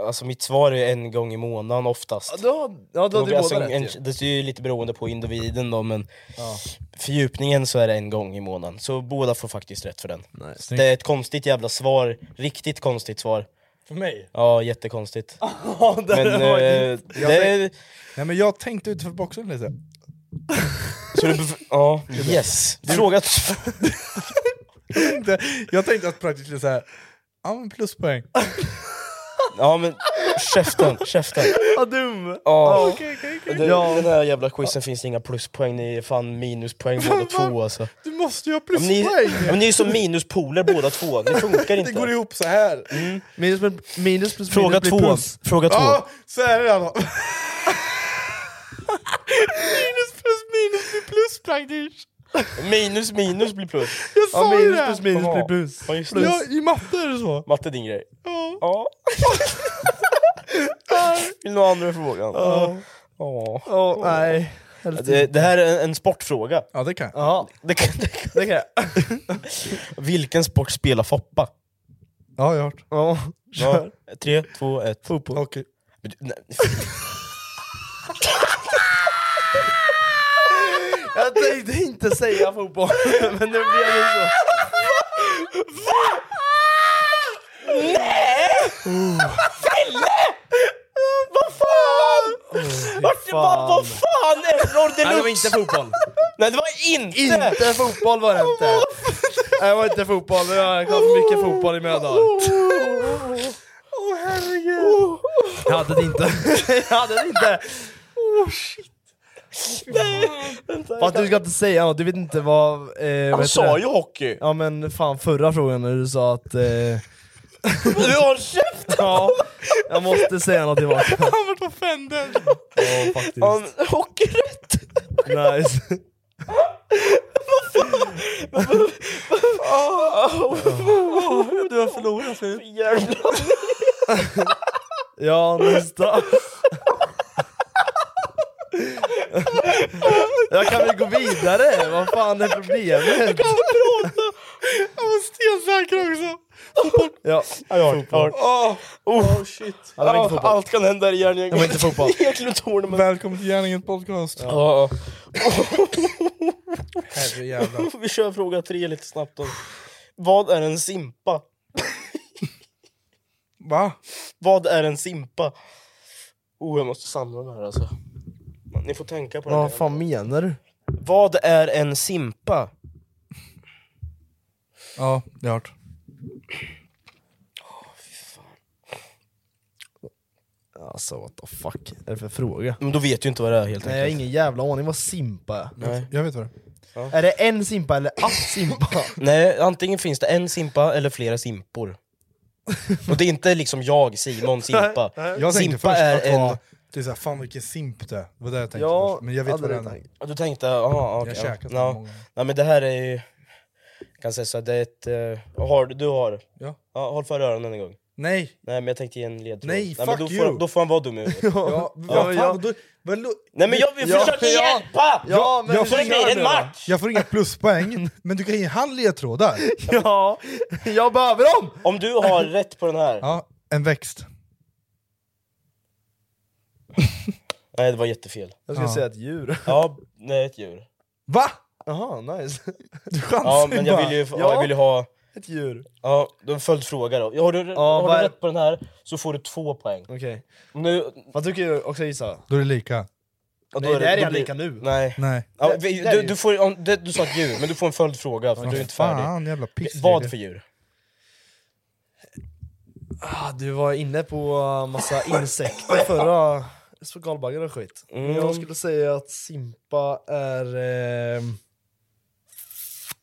[SPEAKER 3] alltså mitt svar är en gång i månaden oftast.
[SPEAKER 11] Ja, då, ja, då hade du
[SPEAKER 3] alltså,
[SPEAKER 11] båda
[SPEAKER 3] en,
[SPEAKER 11] rätt ju.
[SPEAKER 3] det är ju lite beroende på individen då, men
[SPEAKER 11] Ja.
[SPEAKER 3] fördjupningen så är det en gång i månaden. Så båda får faktiskt rätt för den.
[SPEAKER 5] Snyggt.
[SPEAKER 3] Det är ett konstigt jävla svar, riktigt konstigt svar.
[SPEAKER 11] För mig?
[SPEAKER 3] Ja, jättekonstigt.
[SPEAKER 11] Ja, det
[SPEAKER 3] Men,
[SPEAKER 11] var ju-
[SPEAKER 3] eh, det är,
[SPEAKER 5] Nej, men jag tänkte utanför boxen lite.
[SPEAKER 3] så du, bef- ja, yes. Fråga t-
[SPEAKER 5] Jag tänkte, jag tänkte att praktiskt skulle säga ja men pluspoäng.
[SPEAKER 3] Ja men käften, käften.
[SPEAKER 11] Vad dum!
[SPEAKER 3] Ja.
[SPEAKER 11] Okej, okej, okej.
[SPEAKER 3] Den,
[SPEAKER 11] Ja.
[SPEAKER 3] den här jävla quizen finns det inga pluspoäng, ni är fan minuspoäng båda två alltså.
[SPEAKER 5] Du måste ju ha
[SPEAKER 3] Ja, Men ni,
[SPEAKER 5] pluspoäng!
[SPEAKER 3] ja, men ni är som minuspoler båda två, det funkar
[SPEAKER 5] det går
[SPEAKER 3] inte.
[SPEAKER 5] ihop så här.
[SPEAKER 3] Mm.
[SPEAKER 11] Minus, plus- minus plus
[SPEAKER 3] Fråga
[SPEAKER 11] minus blir
[SPEAKER 3] två,
[SPEAKER 11] plus.
[SPEAKER 3] fråga två.
[SPEAKER 5] Ja, så är det i alla fall.
[SPEAKER 11] Minus plus minus blir plus praktiskt.
[SPEAKER 3] Minus minus blir plus.
[SPEAKER 5] Jag
[SPEAKER 11] Ja,
[SPEAKER 5] sa ju
[SPEAKER 11] minus
[SPEAKER 5] det!
[SPEAKER 11] plus minus blir
[SPEAKER 3] Ja.
[SPEAKER 11] plus.
[SPEAKER 3] Ja, just det.
[SPEAKER 5] Ja, I matte är det så.
[SPEAKER 3] Matte din grej.
[SPEAKER 5] Ja.
[SPEAKER 3] Ja. Vill du ha andra frågan? Ja.
[SPEAKER 11] Åh, nej.
[SPEAKER 3] Det, det här är en, en sportfråga.
[SPEAKER 5] Ja det kan jag.
[SPEAKER 11] Ja,
[SPEAKER 3] Det kan, det kan.
[SPEAKER 11] det kan jag.
[SPEAKER 3] Vilken sport spelar Foppa?
[SPEAKER 5] Ja jag har hört.
[SPEAKER 11] Ja,
[SPEAKER 3] Ja.
[SPEAKER 11] kör.
[SPEAKER 3] Tre, två, ett.
[SPEAKER 11] Fotboll.
[SPEAKER 5] Hockey.
[SPEAKER 3] Men du- nej,
[SPEAKER 11] Jag tänkte inte säga fotboll, men det blev ju så.
[SPEAKER 3] Vart, vad, vad fan error
[SPEAKER 11] Nej, det var
[SPEAKER 3] deluxe!
[SPEAKER 11] inte fotboll.
[SPEAKER 3] Nej det var inte!
[SPEAKER 11] Inte fotboll var det inte. Nej, det var inte fotboll. Jag har haft mycket fotboll i mina dagar. Jag hade det inte. Jag hade det inte. Fast du ska inte säga något, du vet inte vad... Eh, vad
[SPEAKER 3] Han
[SPEAKER 11] heter
[SPEAKER 3] sa
[SPEAKER 11] det?
[SPEAKER 3] ju hockey!
[SPEAKER 11] Ja men fan förra frågan när du sa att... Eh,
[SPEAKER 3] Du har käft!
[SPEAKER 11] ja, jag måste säga något tillbaka. Han vart offended. Ja faktiskt.
[SPEAKER 3] Han hockey rätt!
[SPEAKER 11] Nice.
[SPEAKER 3] Du har förlorat Filip. Jävlar.
[SPEAKER 11] Ja, nästa. Jag kan väl gå vidare? Vad fan är problemet?
[SPEAKER 4] Jag var stensäker också!
[SPEAKER 11] Ja, jag har fotboll.
[SPEAKER 4] Oh, oh, shit.
[SPEAKER 11] Ja, det var inte fotboll.
[SPEAKER 3] Allt kan hända i gärningen.
[SPEAKER 11] Det var inte fotboll.
[SPEAKER 5] Välkommen till Gärningen podcast.
[SPEAKER 3] Ja.
[SPEAKER 5] Herrejävlar.
[SPEAKER 3] Vi kör fråga tre lite snabbt då. Vad är en simpa?
[SPEAKER 5] Va?
[SPEAKER 3] Vad är en simpa? Oh, jag måste samla den här alltså. Ni får tänka på det.
[SPEAKER 11] Vad fan menar du?
[SPEAKER 3] Vad är en simpa?
[SPEAKER 5] Ja, det har hört.
[SPEAKER 11] Alltså what the fuck är det för fråga?
[SPEAKER 3] Men då vet ju inte vad det är helt
[SPEAKER 11] Nej jag har ingen jävla aning vad simpa är.
[SPEAKER 3] Nej.
[SPEAKER 5] Jag vet vad det
[SPEAKER 11] Är det en simpa eller att simpa?
[SPEAKER 3] Nej, antingen finns det en simpa eller flera simpor. Och det är inte liksom jag, Simon, simpa.
[SPEAKER 5] är. Jag tänkte
[SPEAKER 3] simpa
[SPEAKER 5] först
[SPEAKER 3] är
[SPEAKER 5] att vara,
[SPEAKER 3] en...
[SPEAKER 5] det är så här, fan vilken simp det är. Det var det jag tänkte
[SPEAKER 11] Ja,
[SPEAKER 5] först. Men jag vet
[SPEAKER 11] hade
[SPEAKER 5] vad det
[SPEAKER 11] du
[SPEAKER 5] är.
[SPEAKER 11] tänkt.
[SPEAKER 3] Ja, Du tänkte, jaha, okej.
[SPEAKER 5] Jag käkar så
[SPEAKER 3] ja.
[SPEAKER 5] många.
[SPEAKER 3] Nej men det här är ju... Jag kan säga så här, det är ett... eh, har, du har?
[SPEAKER 5] Ja.
[SPEAKER 3] Håll för öronen en gång.
[SPEAKER 5] Nej!
[SPEAKER 3] Nej men jag tänkte ge en ledtråd.
[SPEAKER 5] Nej,
[SPEAKER 3] men
[SPEAKER 5] fuck
[SPEAKER 3] då
[SPEAKER 5] you.
[SPEAKER 3] Får, då får han vara dum i huvudet.
[SPEAKER 5] Ja,
[SPEAKER 3] Ja,
[SPEAKER 5] vad fan,
[SPEAKER 3] ja.
[SPEAKER 5] vadå? Vad lo-
[SPEAKER 3] Nej men jag vill
[SPEAKER 11] Ja,
[SPEAKER 3] försöka
[SPEAKER 11] ja.
[SPEAKER 3] hjälpa!
[SPEAKER 11] Ja, men
[SPEAKER 3] så det
[SPEAKER 11] försök
[SPEAKER 3] blir
[SPEAKER 11] nu
[SPEAKER 3] en
[SPEAKER 11] då.
[SPEAKER 3] match!
[SPEAKER 5] Jag får inga pluspoäng, men du kan ge han ledtrådar.
[SPEAKER 11] Ja, jag behöver dem!
[SPEAKER 3] Om du har rätt på den här...
[SPEAKER 5] Ja, en växt.
[SPEAKER 3] Nej det var jättefel.
[SPEAKER 11] Jag skulle
[SPEAKER 5] Ja.
[SPEAKER 11] säga ett djur.
[SPEAKER 3] Ja, nej ett djur.
[SPEAKER 5] Va?
[SPEAKER 11] Jaha, nice.
[SPEAKER 5] Du chansar
[SPEAKER 3] Ja men jag
[SPEAKER 5] bara.
[SPEAKER 3] vill ju, ja.
[SPEAKER 11] Ja.
[SPEAKER 3] jag vill ju ha...
[SPEAKER 11] Ett djur.
[SPEAKER 3] Ja, då en följdfråga då. Har du,
[SPEAKER 11] Ja,
[SPEAKER 3] har
[SPEAKER 11] vad
[SPEAKER 3] du
[SPEAKER 11] är-
[SPEAKER 3] rätt på den här så får du två poäng.
[SPEAKER 11] Okej.
[SPEAKER 3] Nu,
[SPEAKER 11] Vad tycker du också gissa?
[SPEAKER 5] Då är det lika.
[SPEAKER 3] och då
[SPEAKER 11] Nej, det är
[SPEAKER 3] då
[SPEAKER 11] redan
[SPEAKER 3] blir-
[SPEAKER 11] lika nu.
[SPEAKER 3] Nej.
[SPEAKER 5] Nej.
[SPEAKER 3] Ja,
[SPEAKER 11] Det-
[SPEAKER 3] vi-
[SPEAKER 11] det är
[SPEAKER 3] du,
[SPEAKER 11] ju-
[SPEAKER 3] du, får, om, det, du sa ett djur, men du får en följdfråga för du är inte färdig.
[SPEAKER 5] Fan, jävla piss.
[SPEAKER 3] Vad för djur?
[SPEAKER 11] Ah, du var inne på uh, massa insekter förra så galbaggar och skit. Men
[SPEAKER 3] Mm.
[SPEAKER 11] Jag skulle säga att simpa är eh,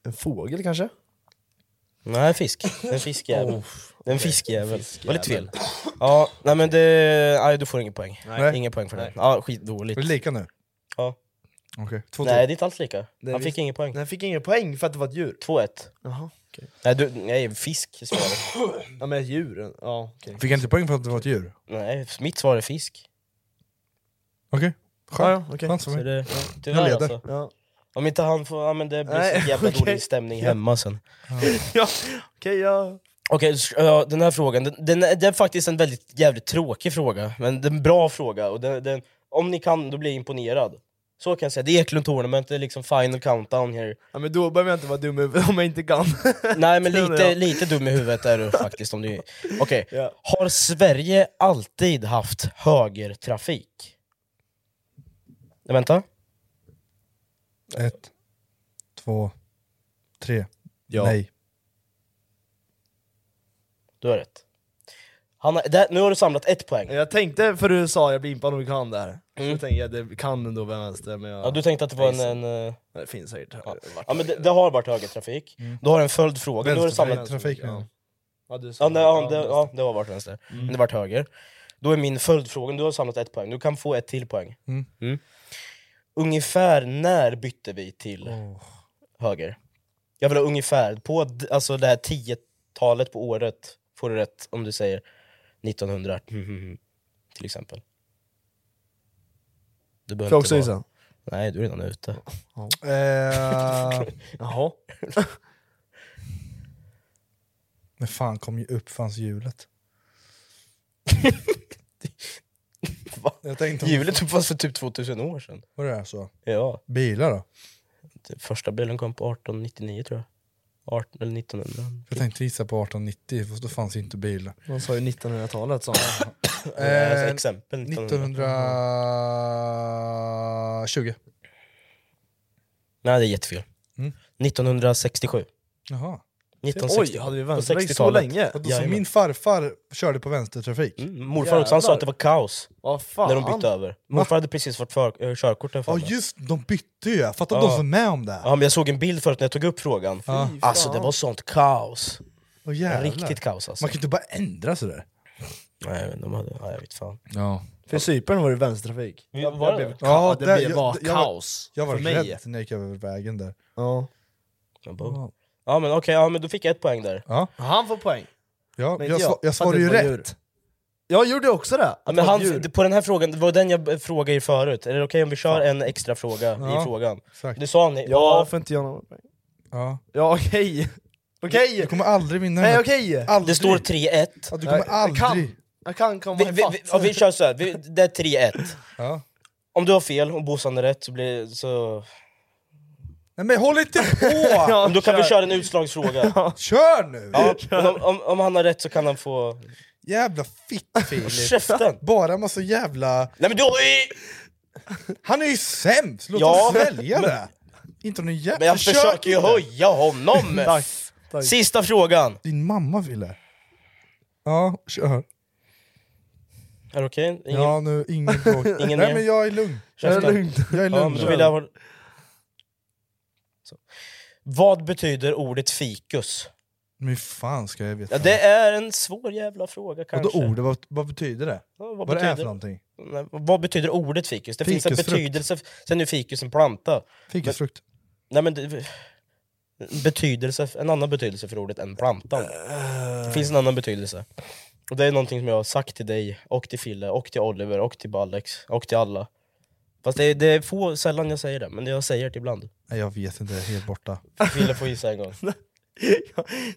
[SPEAKER 11] en fågel kanske?
[SPEAKER 3] Nej, fisk. Det är en fiskjävel. det är en fiskjävel. Var lite fel.
[SPEAKER 11] fiskjävel.
[SPEAKER 3] Ja, nej men det... Nej, du får ingen poäng.
[SPEAKER 5] Nej.
[SPEAKER 3] Ingen poäng för det. Ja, skitdåligt.
[SPEAKER 5] Är det lika nu?
[SPEAKER 3] Ja.
[SPEAKER 5] Okej, två
[SPEAKER 3] Nej,
[SPEAKER 5] till.
[SPEAKER 3] det är inte alls lika.
[SPEAKER 11] Nej,
[SPEAKER 3] Han fick
[SPEAKER 11] visst.
[SPEAKER 3] ingen poäng.
[SPEAKER 11] Nej, jag fick ingen poäng för att det var ett djur.
[SPEAKER 3] 2-1.
[SPEAKER 11] Jaha.
[SPEAKER 3] Nej, du, nej, fisk är svaret.
[SPEAKER 11] Ja men ett djur, ja okej.
[SPEAKER 5] Fick jag inte poäng för att det var ett djur?
[SPEAKER 3] Nej, mitt svar är fisk.
[SPEAKER 5] Okej,
[SPEAKER 11] Ja,
[SPEAKER 5] chans.
[SPEAKER 11] ja, okej.
[SPEAKER 5] Chans för
[SPEAKER 3] Så
[SPEAKER 5] mig.
[SPEAKER 3] det,
[SPEAKER 5] Jag
[SPEAKER 3] tyvärr
[SPEAKER 5] leder.
[SPEAKER 3] alltså.
[SPEAKER 11] Ja.
[SPEAKER 3] Om inte han får... Ja, men det blir
[SPEAKER 11] Nej,
[SPEAKER 3] så jävla
[SPEAKER 11] okej.
[SPEAKER 3] dålig stämning hemma sen.
[SPEAKER 11] ja. Okej, ja.
[SPEAKER 3] Okej, s- ja, den här frågan, den, den, är- det är faktiskt en väldigt jävligt tråkig fråga, men det är en bra fråga. Och den, den, om ni kan, då blir jag imponerad. Så kan jag säga, det är Eklund Tournament, det är liksom final countdown here.
[SPEAKER 11] ja men då behöver jag inte vara dum i huvudet om jag inte kan.
[SPEAKER 3] Nej men
[SPEAKER 11] Tror
[SPEAKER 3] lite,
[SPEAKER 11] jag.
[SPEAKER 3] lite dum i huvudet är du faktiskt om du... Okej,
[SPEAKER 11] Ja.
[SPEAKER 3] har Sverige alltid haft högertrafik? Nej, Vänta.
[SPEAKER 5] Ett, två, tre.
[SPEAKER 11] Ja.
[SPEAKER 5] Nej.
[SPEAKER 3] Du har rätt. Hanna, där, nu har du samlat ett poäng.
[SPEAKER 11] Jag tänkte för du sa jag blir impad om du kan där. Så jag tänkte jag det kan ändå vara vänster men jag...
[SPEAKER 3] Mm. Ja, du tänkte att det var en... en eh,
[SPEAKER 11] Det finns säkert. Ja.
[SPEAKER 3] ja men det, det har varit högertrafik. Du har en följdfråga, nu har du samlat
[SPEAKER 5] Trafik
[SPEAKER 11] Ja.
[SPEAKER 5] nu.
[SPEAKER 11] Ja, du sa
[SPEAKER 3] Ja, nej, ja, det,
[SPEAKER 11] vänster. Mm.
[SPEAKER 3] ja, det har varit vänster.
[SPEAKER 5] Mm.
[SPEAKER 3] Men det vart höger. Då är min följdfråga, du har samlat ett poäng, du kan få ett till poäng.
[SPEAKER 5] Mm.
[SPEAKER 3] Ungefär när bytte vi till höger? Jag vill ha ungefär, på d- alltså det här tiotalet på året får du rätt om du säger 1900 till exempel. Du behöver
[SPEAKER 11] Får jag också
[SPEAKER 3] inte vara-
[SPEAKER 11] gissa?
[SPEAKER 3] Nej, du är redan ute.
[SPEAKER 5] Eh,
[SPEAKER 11] Jaha.
[SPEAKER 5] när fan kom ju uppfanns hjulet?
[SPEAKER 3] Va?
[SPEAKER 5] Jag tänkte,
[SPEAKER 3] Hjulet uppfanns för typ 2000 år sedan.
[SPEAKER 5] var det här så?
[SPEAKER 3] Ja,
[SPEAKER 5] Bilar då?
[SPEAKER 3] det- första bilen kom på 1899 tror jag. 18 eller 1900.
[SPEAKER 5] Jag tänkte gissa på 1890, fast då fanns ju inte bilar.
[SPEAKER 11] Man sa ju 1900-talet sa man.
[SPEAKER 3] alltså,
[SPEAKER 5] Eh,
[SPEAKER 3] exempel 1900.
[SPEAKER 5] 1920.
[SPEAKER 3] Nej det är jättefel.
[SPEAKER 5] Mm.
[SPEAKER 3] 1967.
[SPEAKER 5] Jaha.
[SPEAKER 11] Oj,
[SPEAKER 3] 1960.
[SPEAKER 11] hade vi
[SPEAKER 3] På
[SPEAKER 11] vänsterväg så
[SPEAKER 3] 60-talet.
[SPEAKER 11] länge?
[SPEAKER 5] Vadå, så
[SPEAKER 3] Jajamän.
[SPEAKER 5] min farfar körde på vänstertrafik?
[SPEAKER 3] Mm, morfar också, han sa att det var kaos
[SPEAKER 11] Vad fan?
[SPEAKER 3] när de bytte över. Morfar hade precis fått för, äh, körkort där
[SPEAKER 5] Ja
[SPEAKER 3] för mig.
[SPEAKER 5] just de bytte ju, jag fattar
[SPEAKER 3] Ja.
[SPEAKER 5] de som var med om det här.
[SPEAKER 3] Ja men jag såg en bild förut när jag tog upp frågan.
[SPEAKER 5] Ja.
[SPEAKER 3] Alltså det var sånt kaos.
[SPEAKER 5] Åh, jävlar.
[SPEAKER 3] Riktigt kaos alltså.
[SPEAKER 5] Man kan ju inte bara ändra sådär.
[SPEAKER 3] Nej men de hade, ja, jag vet fan.
[SPEAKER 5] Ja.
[SPEAKER 11] För Cypern var det vänstertrafik.
[SPEAKER 3] Ja,
[SPEAKER 11] Jag-
[SPEAKER 3] var
[SPEAKER 11] jag
[SPEAKER 3] det?
[SPEAKER 11] blev-
[SPEAKER 5] Ja,
[SPEAKER 11] Ja, det
[SPEAKER 5] där-
[SPEAKER 11] blev
[SPEAKER 5] jag-
[SPEAKER 11] var
[SPEAKER 5] jag var-
[SPEAKER 11] kaos.
[SPEAKER 5] Jag var
[SPEAKER 11] för mig.
[SPEAKER 5] rädd när jag gick över vägen där.
[SPEAKER 11] Ja.
[SPEAKER 3] Jag bara- liksom, Ja men okej, ja, men då fick jag ett poäng där.
[SPEAKER 5] Ja,
[SPEAKER 11] Han får poäng.
[SPEAKER 5] ja
[SPEAKER 11] Men
[SPEAKER 5] jag,
[SPEAKER 11] inte
[SPEAKER 5] sva-
[SPEAKER 11] jag.
[SPEAKER 5] jag svarade
[SPEAKER 11] För
[SPEAKER 5] ju
[SPEAKER 11] att det var
[SPEAKER 5] rätt.
[SPEAKER 11] djur. Jag gjorde också det.
[SPEAKER 3] Ja,
[SPEAKER 11] Att
[SPEAKER 3] men
[SPEAKER 11] ha
[SPEAKER 3] han,
[SPEAKER 11] djur.
[SPEAKER 3] det- på den här frågan, det var den jag b- frågade er förut. Är det okej om vi kör en extra fråga
[SPEAKER 11] Ja,
[SPEAKER 3] i frågan?
[SPEAKER 5] exakt.
[SPEAKER 3] Det sa ni.
[SPEAKER 11] Ja, för inte jag någon
[SPEAKER 5] Ja.
[SPEAKER 11] Ja okej. Okej!
[SPEAKER 5] Du kommer aldrig vinna den
[SPEAKER 11] Nej
[SPEAKER 5] här-
[SPEAKER 11] okej!
[SPEAKER 5] Aldrig.
[SPEAKER 3] Det står 3-1.
[SPEAKER 5] Ja, du kommer
[SPEAKER 11] Nej,
[SPEAKER 5] aldrig...
[SPEAKER 11] Jag kan, jag kan komma
[SPEAKER 3] Vi, vi, vi, ja, vi kör såhär, vi, det är 3-1.
[SPEAKER 5] Ja.
[SPEAKER 3] Om du har fel och Bosan är rätt så blir så...
[SPEAKER 5] Nej men håll inte på!
[SPEAKER 3] Ja, då kan vi köra en utslagsfråga.
[SPEAKER 5] Kör nu!
[SPEAKER 3] Ja, men om, om, om han har rätt så kan han få...
[SPEAKER 5] Jävla fitt-Filip!
[SPEAKER 3] Käften!
[SPEAKER 5] Bara massa jävla...
[SPEAKER 3] Nej men du har ju...
[SPEAKER 5] Han är ju sämst! Låt
[SPEAKER 3] Ja,
[SPEAKER 5] honom svälja
[SPEAKER 3] men-
[SPEAKER 5] det! Inte någon jävla...
[SPEAKER 3] Men jag
[SPEAKER 5] Försök
[SPEAKER 3] försöker ju
[SPEAKER 5] inte.
[SPEAKER 3] höja honom!
[SPEAKER 5] Tack, tack.
[SPEAKER 3] Sista frågan.
[SPEAKER 5] Din mamma ville. Ja, kör.
[SPEAKER 3] Är det okej? Ingen-
[SPEAKER 5] Ja, nu, ingen fråga.
[SPEAKER 3] Ingen
[SPEAKER 5] Nej
[SPEAKER 3] mer?
[SPEAKER 5] men jag är lugn.
[SPEAKER 3] Käften.
[SPEAKER 5] Jag är
[SPEAKER 3] Ja,
[SPEAKER 5] lugn.
[SPEAKER 3] men då vill jag... ha- Så. Vad betyder ordet fikus?
[SPEAKER 5] Men hur fan ska jag veta?
[SPEAKER 3] Ja, det är en svår jävla fråga kanske.
[SPEAKER 5] Vadå ordet? Vad, vad betyder det?
[SPEAKER 3] Ja, vad
[SPEAKER 5] vad det är
[SPEAKER 3] betyder-
[SPEAKER 5] för någonting?
[SPEAKER 3] Nej, Vad betyder ordet fikus? Det finns en
[SPEAKER 5] Fikusfrukt.
[SPEAKER 3] betydelse, sen är fikus en planta.
[SPEAKER 5] Fikusfrukt.
[SPEAKER 3] Nej men det, betydelse, en annan betydelse för ordet än plantan. Det finns en annan betydelse. Och det är någonting som jag har sagt till dig, och till Fille, och till Oliver, och till Alex, och till alla. Fast det är, det är få, sällan jag säger det, men jag säger det ibland.
[SPEAKER 5] Nej, jag vet inte, det är helt borta.
[SPEAKER 3] Fille får gissa en gång.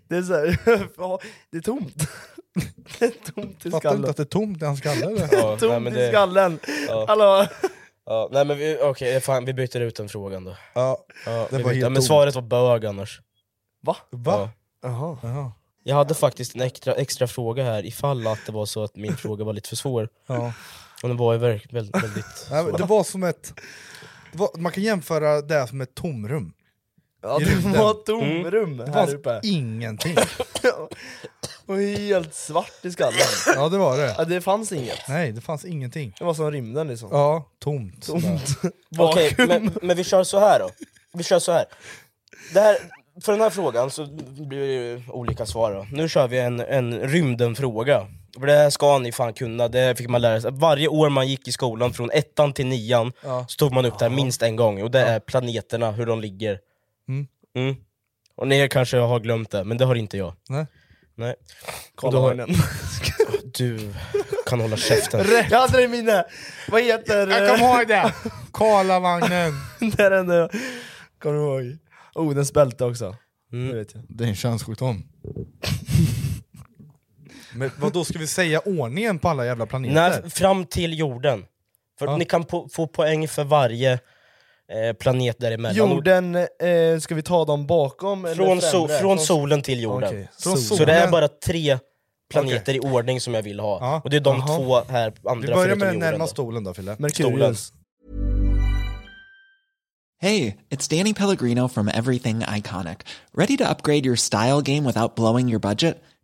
[SPEAKER 11] Det är såhär, ja, det är tomt. Det är tomt i
[SPEAKER 5] Fattar inte
[SPEAKER 11] skallen.
[SPEAKER 5] att det är tomt i hans skalle eller?
[SPEAKER 3] Ja, nej,
[SPEAKER 11] Tomt
[SPEAKER 3] men
[SPEAKER 11] i
[SPEAKER 3] det-
[SPEAKER 11] skallen!
[SPEAKER 3] Ja.
[SPEAKER 11] Hallå!
[SPEAKER 3] Ja, nej men vi- okej, fan, vi byter ut den frågan då.
[SPEAKER 5] Ja,
[SPEAKER 3] Ja,
[SPEAKER 5] det
[SPEAKER 3] vi
[SPEAKER 5] var
[SPEAKER 3] byter-
[SPEAKER 5] helt
[SPEAKER 3] men
[SPEAKER 5] tomt.
[SPEAKER 3] svaret var bög annars.
[SPEAKER 11] Va?
[SPEAKER 5] Va?
[SPEAKER 11] Jaha.
[SPEAKER 5] Jaha.
[SPEAKER 3] Jag hade faktiskt en extra, extra fråga här, ifall att det var så att min fråga var lite för svår.
[SPEAKER 5] Ja.
[SPEAKER 3] Och den var ju väldigt, väldigt, väldigt
[SPEAKER 5] Nej, men
[SPEAKER 3] svår.
[SPEAKER 5] det var som ett... Det var, man kan jämföra det här som ett tomrum.
[SPEAKER 11] Ja,
[SPEAKER 5] I rymden.
[SPEAKER 11] det var tomrum
[SPEAKER 5] Det
[SPEAKER 11] här
[SPEAKER 5] fanns
[SPEAKER 11] uppe.
[SPEAKER 5] ingenting.
[SPEAKER 11] Och helt svart i skallen.
[SPEAKER 5] Ja, det var det.
[SPEAKER 11] Ja, det fanns inget.
[SPEAKER 5] Nej, det fanns ingenting.
[SPEAKER 11] Det var som rymden liksom.
[SPEAKER 5] Ja, tomt.
[SPEAKER 11] Tomt.
[SPEAKER 3] Okej,
[SPEAKER 11] Vakuum.
[SPEAKER 3] men, men vi kör så här då. Vi kör så här. Det här för den här frågan så blir det ju olika svar då. Nu kör vi en, en rymden-fråga. För det här ska ni fan kunna, det fick man lära sig. Varje år man gick i skolan, från ettan till nian,
[SPEAKER 5] Ja.
[SPEAKER 3] så tog man upp det här minst en gång. Och det är planeterna, hur de ligger.
[SPEAKER 5] Mm.
[SPEAKER 3] Mm. Och ni kanske har glömt det, men det har inte jag.
[SPEAKER 5] Nej.
[SPEAKER 3] Nej. Och
[SPEAKER 11] Kolla
[SPEAKER 3] då har-
[SPEAKER 11] ögonen.
[SPEAKER 3] Du kan hålla käften.
[SPEAKER 11] Rätt! Jag hade det i minne! Vad heter...
[SPEAKER 5] Jag kommer ihåg det! Karlavagnen!
[SPEAKER 11] Det är den där... Kommer du ihåg? Oh, den spälte också.
[SPEAKER 3] Mm.
[SPEAKER 11] Det vet jag.
[SPEAKER 5] Det är en könssjukdom. Men vad då ska vi säga ordningen på alla jävla planeter?
[SPEAKER 3] Nej, fram till jorden. För
[SPEAKER 5] Ja.
[SPEAKER 3] ni kan po- få poäng för varje eh, planet däremellan.
[SPEAKER 11] Jorden, eh, ska vi ta dem bakom
[SPEAKER 3] Och
[SPEAKER 11] eller
[SPEAKER 3] Från,
[SPEAKER 11] främre?
[SPEAKER 3] so från solen till jorden.
[SPEAKER 11] Okej,
[SPEAKER 5] Från
[SPEAKER 11] sol.
[SPEAKER 3] Så det är
[SPEAKER 5] solen.
[SPEAKER 3] bara tre planeter i ordning som jag vill ha.
[SPEAKER 5] Ja,
[SPEAKER 3] Och det är de
[SPEAKER 5] aha.
[SPEAKER 3] två här andra
[SPEAKER 5] Vi börjar
[SPEAKER 3] förutom
[SPEAKER 5] med
[SPEAKER 3] jorden.
[SPEAKER 5] närmast
[SPEAKER 3] då.
[SPEAKER 5] stolen då Fille.
[SPEAKER 11] Merkurius.
[SPEAKER 13] Hey, it's Danny Pellegrino from Everything Iconic. Ready to upgrade your style game without blowing your budget?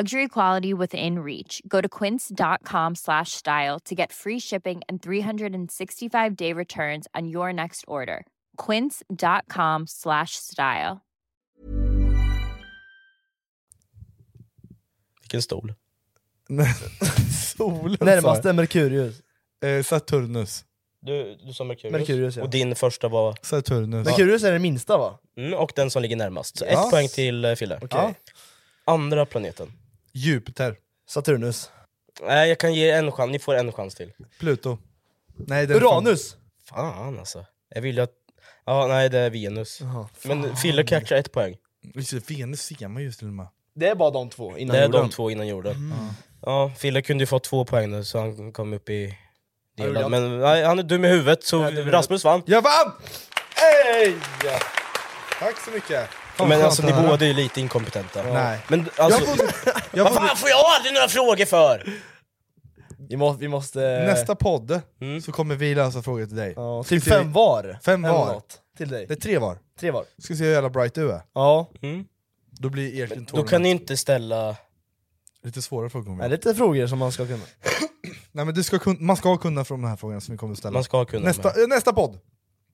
[SPEAKER 14] Luxury quality within reach. Go to quince.com slash style to get free shipping and 365 day returns on your next order. Quince.com slash style.
[SPEAKER 3] Vilken stol?
[SPEAKER 5] solen
[SPEAKER 11] Närmast
[SPEAKER 5] sa
[SPEAKER 11] är Merkurius.
[SPEAKER 5] jag. eh, Saturnus.
[SPEAKER 3] Du, du sa Merkurius.
[SPEAKER 11] Merkurius, ja.
[SPEAKER 3] Och din första var...
[SPEAKER 5] Saturnus.
[SPEAKER 11] Merkurius är den minsta va?
[SPEAKER 3] Mm, och den som ligger närmast. Så
[SPEAKER 11] Yes.
[SPEAKER 3] ett poäng till eh, Fille.
[SPEAKER 11] Okej.
[SPEAKER 3] Andra planeten.
[SPEAKER 5] Jupiter.
[SPEAKER 11] Saturnus.
[SPEAKER 3] Nej, jag kan ge er en chans. Ni får en chans till.
[SPEAKER 5] Pluto. Nej, den
[SPEAKER 11] Uranus!
[SPEAKER 3] Fan alltså. Jag vill ju att... Ja, nej det är Venus. Men Fille catchar ett poäng.
[SPEAKER 5] Fan. Venus ser man just Mm. till och med.
[SPEAKER 11] Det är bara de två innan
[SPEAKER 3] det är
[SPEAKER 11] jorden.
[SPEAKER 3] de två innan jorden. Ja, Fille kunde ju få två poäng nu så han kom upp i
[SPEAKER 11] Ja,
[SPEAKER 3] delad.
[SPEAKER 11] Julian.
[SPEAKER 3] Men nej, han är dum i huvudet så Rasmus vann.
[SPEAKER 5] Jag vann!
[SPEAKER 11] Hej!
[SPEAKER 5] Tack så mycket. Fan,
[SPEAKER 3] Men
[SPEAKER 5] skönt
[SPEAKER 3] alltså
[SPEAKER 5] att
[SPEAKER 3] ni
[SPEAKER 5] höra.
[SPEAKER 3] båda är ju lite inkompetenta.
[SPEAKER 5] Nej.
[SPEAKER 3] Men alltså...
[SPEAKER 5] Jag borde- jag
[SPEAKER 3] Vad
[SPEAKER 5] borde-
[SPEAKER 3] fan får jag aldrig några frågor för?
[SPEAKER 11] Vi måste... Vi måste
[SPEAKER 5] Nästa podd så kommer vi lösa frågor till dig.
[SPEAKER 11] Eh, Mm. Ja,
[SPEAKER 5] Så
[SPEAKER 11] typ
[SPEAKER 5] sitter vi-
[SPEAKER 11] fem var.
[SPEAKER 5] Fem
[SPEAKER 11] Eller
[SPEAKER 5] var.
[SPEAKER 11] något Till dig.
[SPEAKER 5] Det är tre var.
[SPEAKER 11] Tre var.
[SPEAKER 5] Ska se hur jävla bright du är.
[SPEAKER 11] Ja.
[SPEAKER 5] Då blir Erkin
[SPEAKER 3] Då kan ni inte ställa...
[SPEAKER 5] Lite svårare frågor.
[SPEAKER 11] Nej, lite frågor som man ska kunna.
[SPEAKER 5] Nej, men du ska kun... Man ska kunna från de här frågorna som vi kommer att ställa.
[SPEAKER 11] Man ska kunna
[SPEAKER 5] nästa,
[SPEAKER 11] med.
[SPEAKER 5] eh, nästa podd!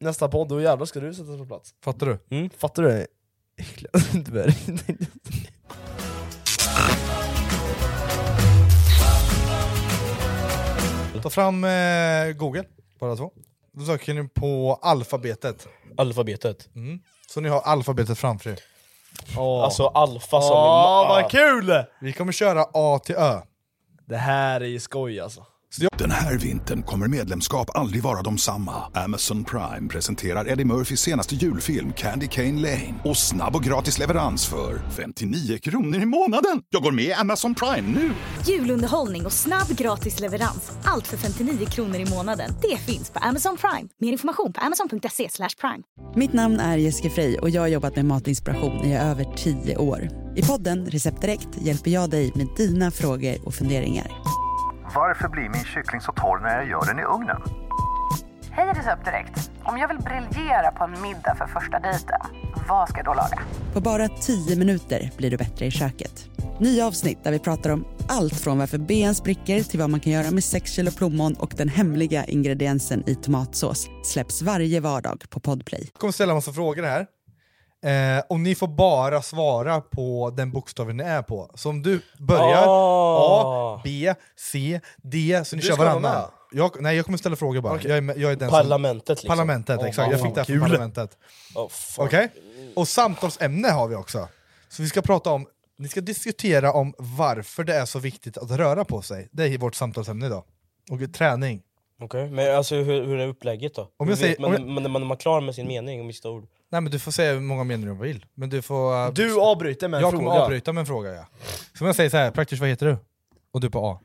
[SPEAKER 11] Nästa podd, då jävlar ska du sättas på plats.
[SPEAKER 5] Fattar du?
[SPEAKER 11] Fattar du det äckliga du är?
[SPEAKER 5] Ta fram eh, google, bara två. Då söker ni på alfabetet.
[SPEAKER 3] Alfabetet?
[SPEAKER 5] Mm. Så ni har alfabetet framför er.
[SPEAKER 3] Alltså alfa som...
[SPEAKER 11] Åh, vad kul!
[SPEAKER 5] Vi kommer köra A till Ö.
[SPEAKER 11] Det här är ju skoj alltså.
[SPEAKER 1] Den här vintern kommer medlemskap aldrig vara de samma. Amazon Prime presenterar Eddie Murphys senaste julfilm Candy Cane Lane. Och snabb och gratis leverans för 59 kronor i månaden. Jag går med i Amazon Prime nu!
[SPEAKER 2] Julunderhållning och snabb gratis leverans. Allt för 59 kronor i månaden. Det finns på Amazon Prime. Mer information på amazon.se slash prime.
[SPEAKER 8] Mitt namn är Jessica Frey och jag har jobbat med matinspiration i över 10 år. I podden Recept Direkt hjälper jag dig med dina frågor och funderingar.
[SPEAKER 9] Varför blir min kyckling så torr när jag gör den i ugnen?
[SPEAKER 10] Hej Recept Direkt! Om jag vill briljera på en middag för första dejten, vad ska jag då laga?
[SPEAKER 8] På bara 10 minuter blir du bättre i köket. Nya avsnitt där vi pratar om allt från varför ben spricker till vad man kan göra med 6 kilo plommon och den hemliga ingrediensen i tomatsås släpps varje vardag på Podplay.
[SPEAKER 5] Jag kommer ställa en massa frågor här. Eh, och ni får bara svara på den bokstaven ni är på. Så om du börjar A, B, C, D, så ni
[SPEAKER 11] Du
[SPEAKER 5] kör
[SPEAKER 11] ska vara
[SPEAKER 5] varannan.
[SPEAKER 11] med.
[SPEAKER 5] Jag, nej, jag kommer ställa frågor bara.
[SPEAKER 11] Okej.
[SPEAKER 5] Jag är, med- jag är den
[SPEAKER 3] Parlamentet,
[SPEAKER 5] som,
[SPEAKER 3] liksom.
[SPEAKER 5] Parlamentet,
[SPEAKER 3] Åh, fan,
[SPEAKER 5] exakt. jag
[SPEAKER 3] vad
[SPEAKER 5] fick det här från
[SPEAKER 3] kul.
[SPEAKER 5] parlamentet.
[SPEAKER 3] Åh, fan.
[SPEAKER 5] Okej? Och samtalsämne har vi också. Så vi ska prata om, ni ska diskutera om varför det är så viktigt att röra på sig. Det är vårt samtalsämne idag. Och träning.
[SPEAKER 3] Okej, men alltså hur, hur är upplägget då?
[SPEAKER 5] jag
[SPEAKER 3] Hur vet
[SPEAKER 5] säger-
[SPEAKER 3] man,
[SPEAKER 5] om jag-
[SPEAKER 3] man, man, man är klar med sin mening och missar ord.
[SPEAKER 5] Nej men du får säga hur många meningar du vill. Men du får... eh,
[SPEAKER 11] Du avbryter med en
[SPEAKER 5] jag
[SPEAKER 11] fråga.
[SPEAKER 5] kommer avbryta med en fråga ja. Så om jag säger så här, praktiskt vad heter du? Och du på A.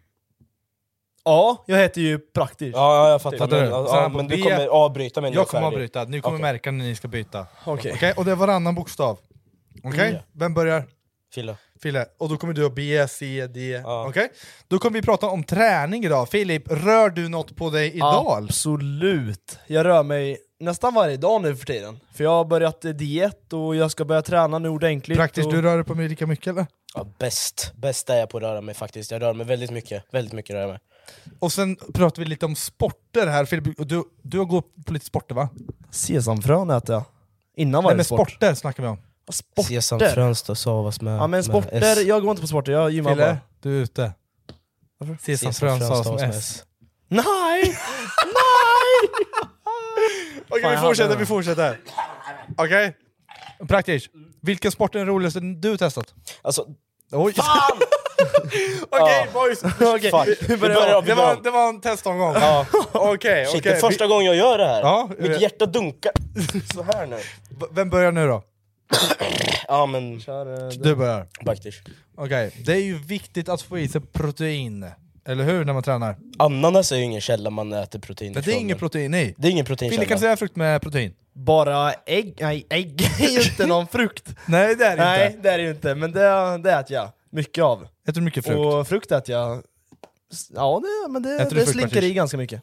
[SPEAKER 11] Ja, jag heter ju Typ. praktiskt.
[SPEAKER 3] Ja, ja jag fattar.
[SPEAKER 5] Fattar du?
[SPEAKER 3] men, ja,
[SPEAKER 5] Så här
[SPEAKER 3] ja,
[SPEAKER 5] på
[SPEAKER 3] men du
[SPEAKER 5] B.
[SPEAKER 3] kommer avbryta mig när
[SPEAKER 5] Jag kommer
[SPEAKER 3] är färdig.
[SPEAKER 5] avbryta, ni kommer
[SPEAKER 3] Okej.
[SPEAKER 5] märka när ni ska byta.
[SPEAKER 3] Okej.
[SPEAKER 5] och det är varannan bokstav. Okej?
[SPEAKER 3] Mm.
[SPEAKER 5] Vem börjar?
[SPEAKER 3] Fille.
[SPEAKER 5] Fille. Och då kommer du ha B, C, D. Okej? Då kommer vi prata om träning idag. Filip, rör du något på dig idag?
[SPEAKER 11] Absolut. Jag rör mig nästan varje dag nu för tiden. För jag har börjat eh, diet och jag ska börja träna nu ordentligt.
[SPEAKER 5] Praktiskt,
[SPEAKER 11] och...
[SPEAKER 5] du rör dig på mig lika mycket eller?
[SPEAKER 3] Ja, bäst. Bäst är jag på att röra mig faktiskt. Jag rör mig väldigt mycket. Väldigt mycket rör jag mig.
[SPEAKER 5] Och sen pratar vi lite om sporter här. Filip, och du, du har gått på lite sporter va?
[SPEAKER 11] Sesamfrön äter jag. Innan var
[SPEAKER 5] Nej
[SPEAKER 11] det
[SPEAKER 5] men
[SPEAKER 11] sport.
[SPEAKER 5] sporter snackar vi om.
[SPEAKER 11] Sporter.
[SPEAKER 3] Sesamfrönsta savas med
[SPEAKER 11] Ja men
[SPEAKER 3] med
[SPEAKER 11] sporter,
[SPEAKER 3] S.
[SPEAKER 11] jag går inte på sporter, jag gymmar
[SPEAKER 5] Fille,
[SPEAKER 11] bara.
[SPEAKER 5] du är ute. Sesamfrön
[SPEAKER 3] Sesamfrön
[SPEAKER 5] sa som S.
[SPEAKER 11] Nej!
[SPEAKER 5] Okej
[SPEAKER 11] Fan, jag
[SPEAKER 5] vi fortsätter,
[SPEAKER 11] hade
[SPEAKER 5] vi
[SPEAKER 11] den.
[SPEAKER 5] fortsätter. Okej? Praktiskt. Vilken sport är den roligaste du testat?
[SPEAKER 3] Alltså...
[SPEAKER 5] Oj.
[SPEAKER 3] Fan!
[SPEAKER 5] Okej boys!
[SPEAKER 11] Okej,
[SPEAKER 3] Fuck. Vi börjar om, vi börjar
[SPEAKER 5] det, var,
[SPEAKER 3] om.
[SPEAKER 5] det var en testomgång.
[SPEAKER 3] Ja.
[SPEAKER 5] Okej,
[SPEAKER 3] Shit,
[SPEAKER 5] okej.
[SPEAKER 3] det är första gången jag gör det här.
[SPEAKER 5] Ja, jag
[SPEAKER 3] Mitt
[SPEAKER 5] vet.
[SPEAKER 3] hjärta dunkar så här nu.
[SPEAKER 5] V- Vem börjar nu då?
[SPEAKER 3] Ja men...
[SPEAKER 5] Du börjar.
[SPEAKER 3] Baktish.
[SPEAKER 5] Okej, det är ju viktigt att få i sig protein. Eller hur? När man tränar.
[SPEAKER 3] Ananas är ju ingen källa man äter protein
[SPEAKER 5] Men det är
[SPEAKER 3] ifrån,
[SPEAKER 5] inget protein i.
[SPEAKER 3] Det är ingen
[SPEAKER 5] Fille
[SPEAKER 3] proteinkälla.
[SPEAKER 5] kan du säga frukt med protein.
[SPEAKER 11] Bara ägg, nej ägg är ju inte någon frukt.
[SPEAKER 5] Nej det är det
[SPEAKER 11] nej
[SPEAKER 5] inte.
[SPEAKER 11] det är det ju inte, men det, det äter jag mycket av.
[SPEAKER 5] Äter du mycket frukt?
[SPEAKER 11] Och frukt äter jag, s- ja det, men det,
[SPEAKER 5] Äter du
[SPEAKER 11] det
[SPEAKER 5] frukt,
[SPEAKER 11] slinker
[SPEAKER 5] Martin?
[SPEAKER 11] i ganska mycket.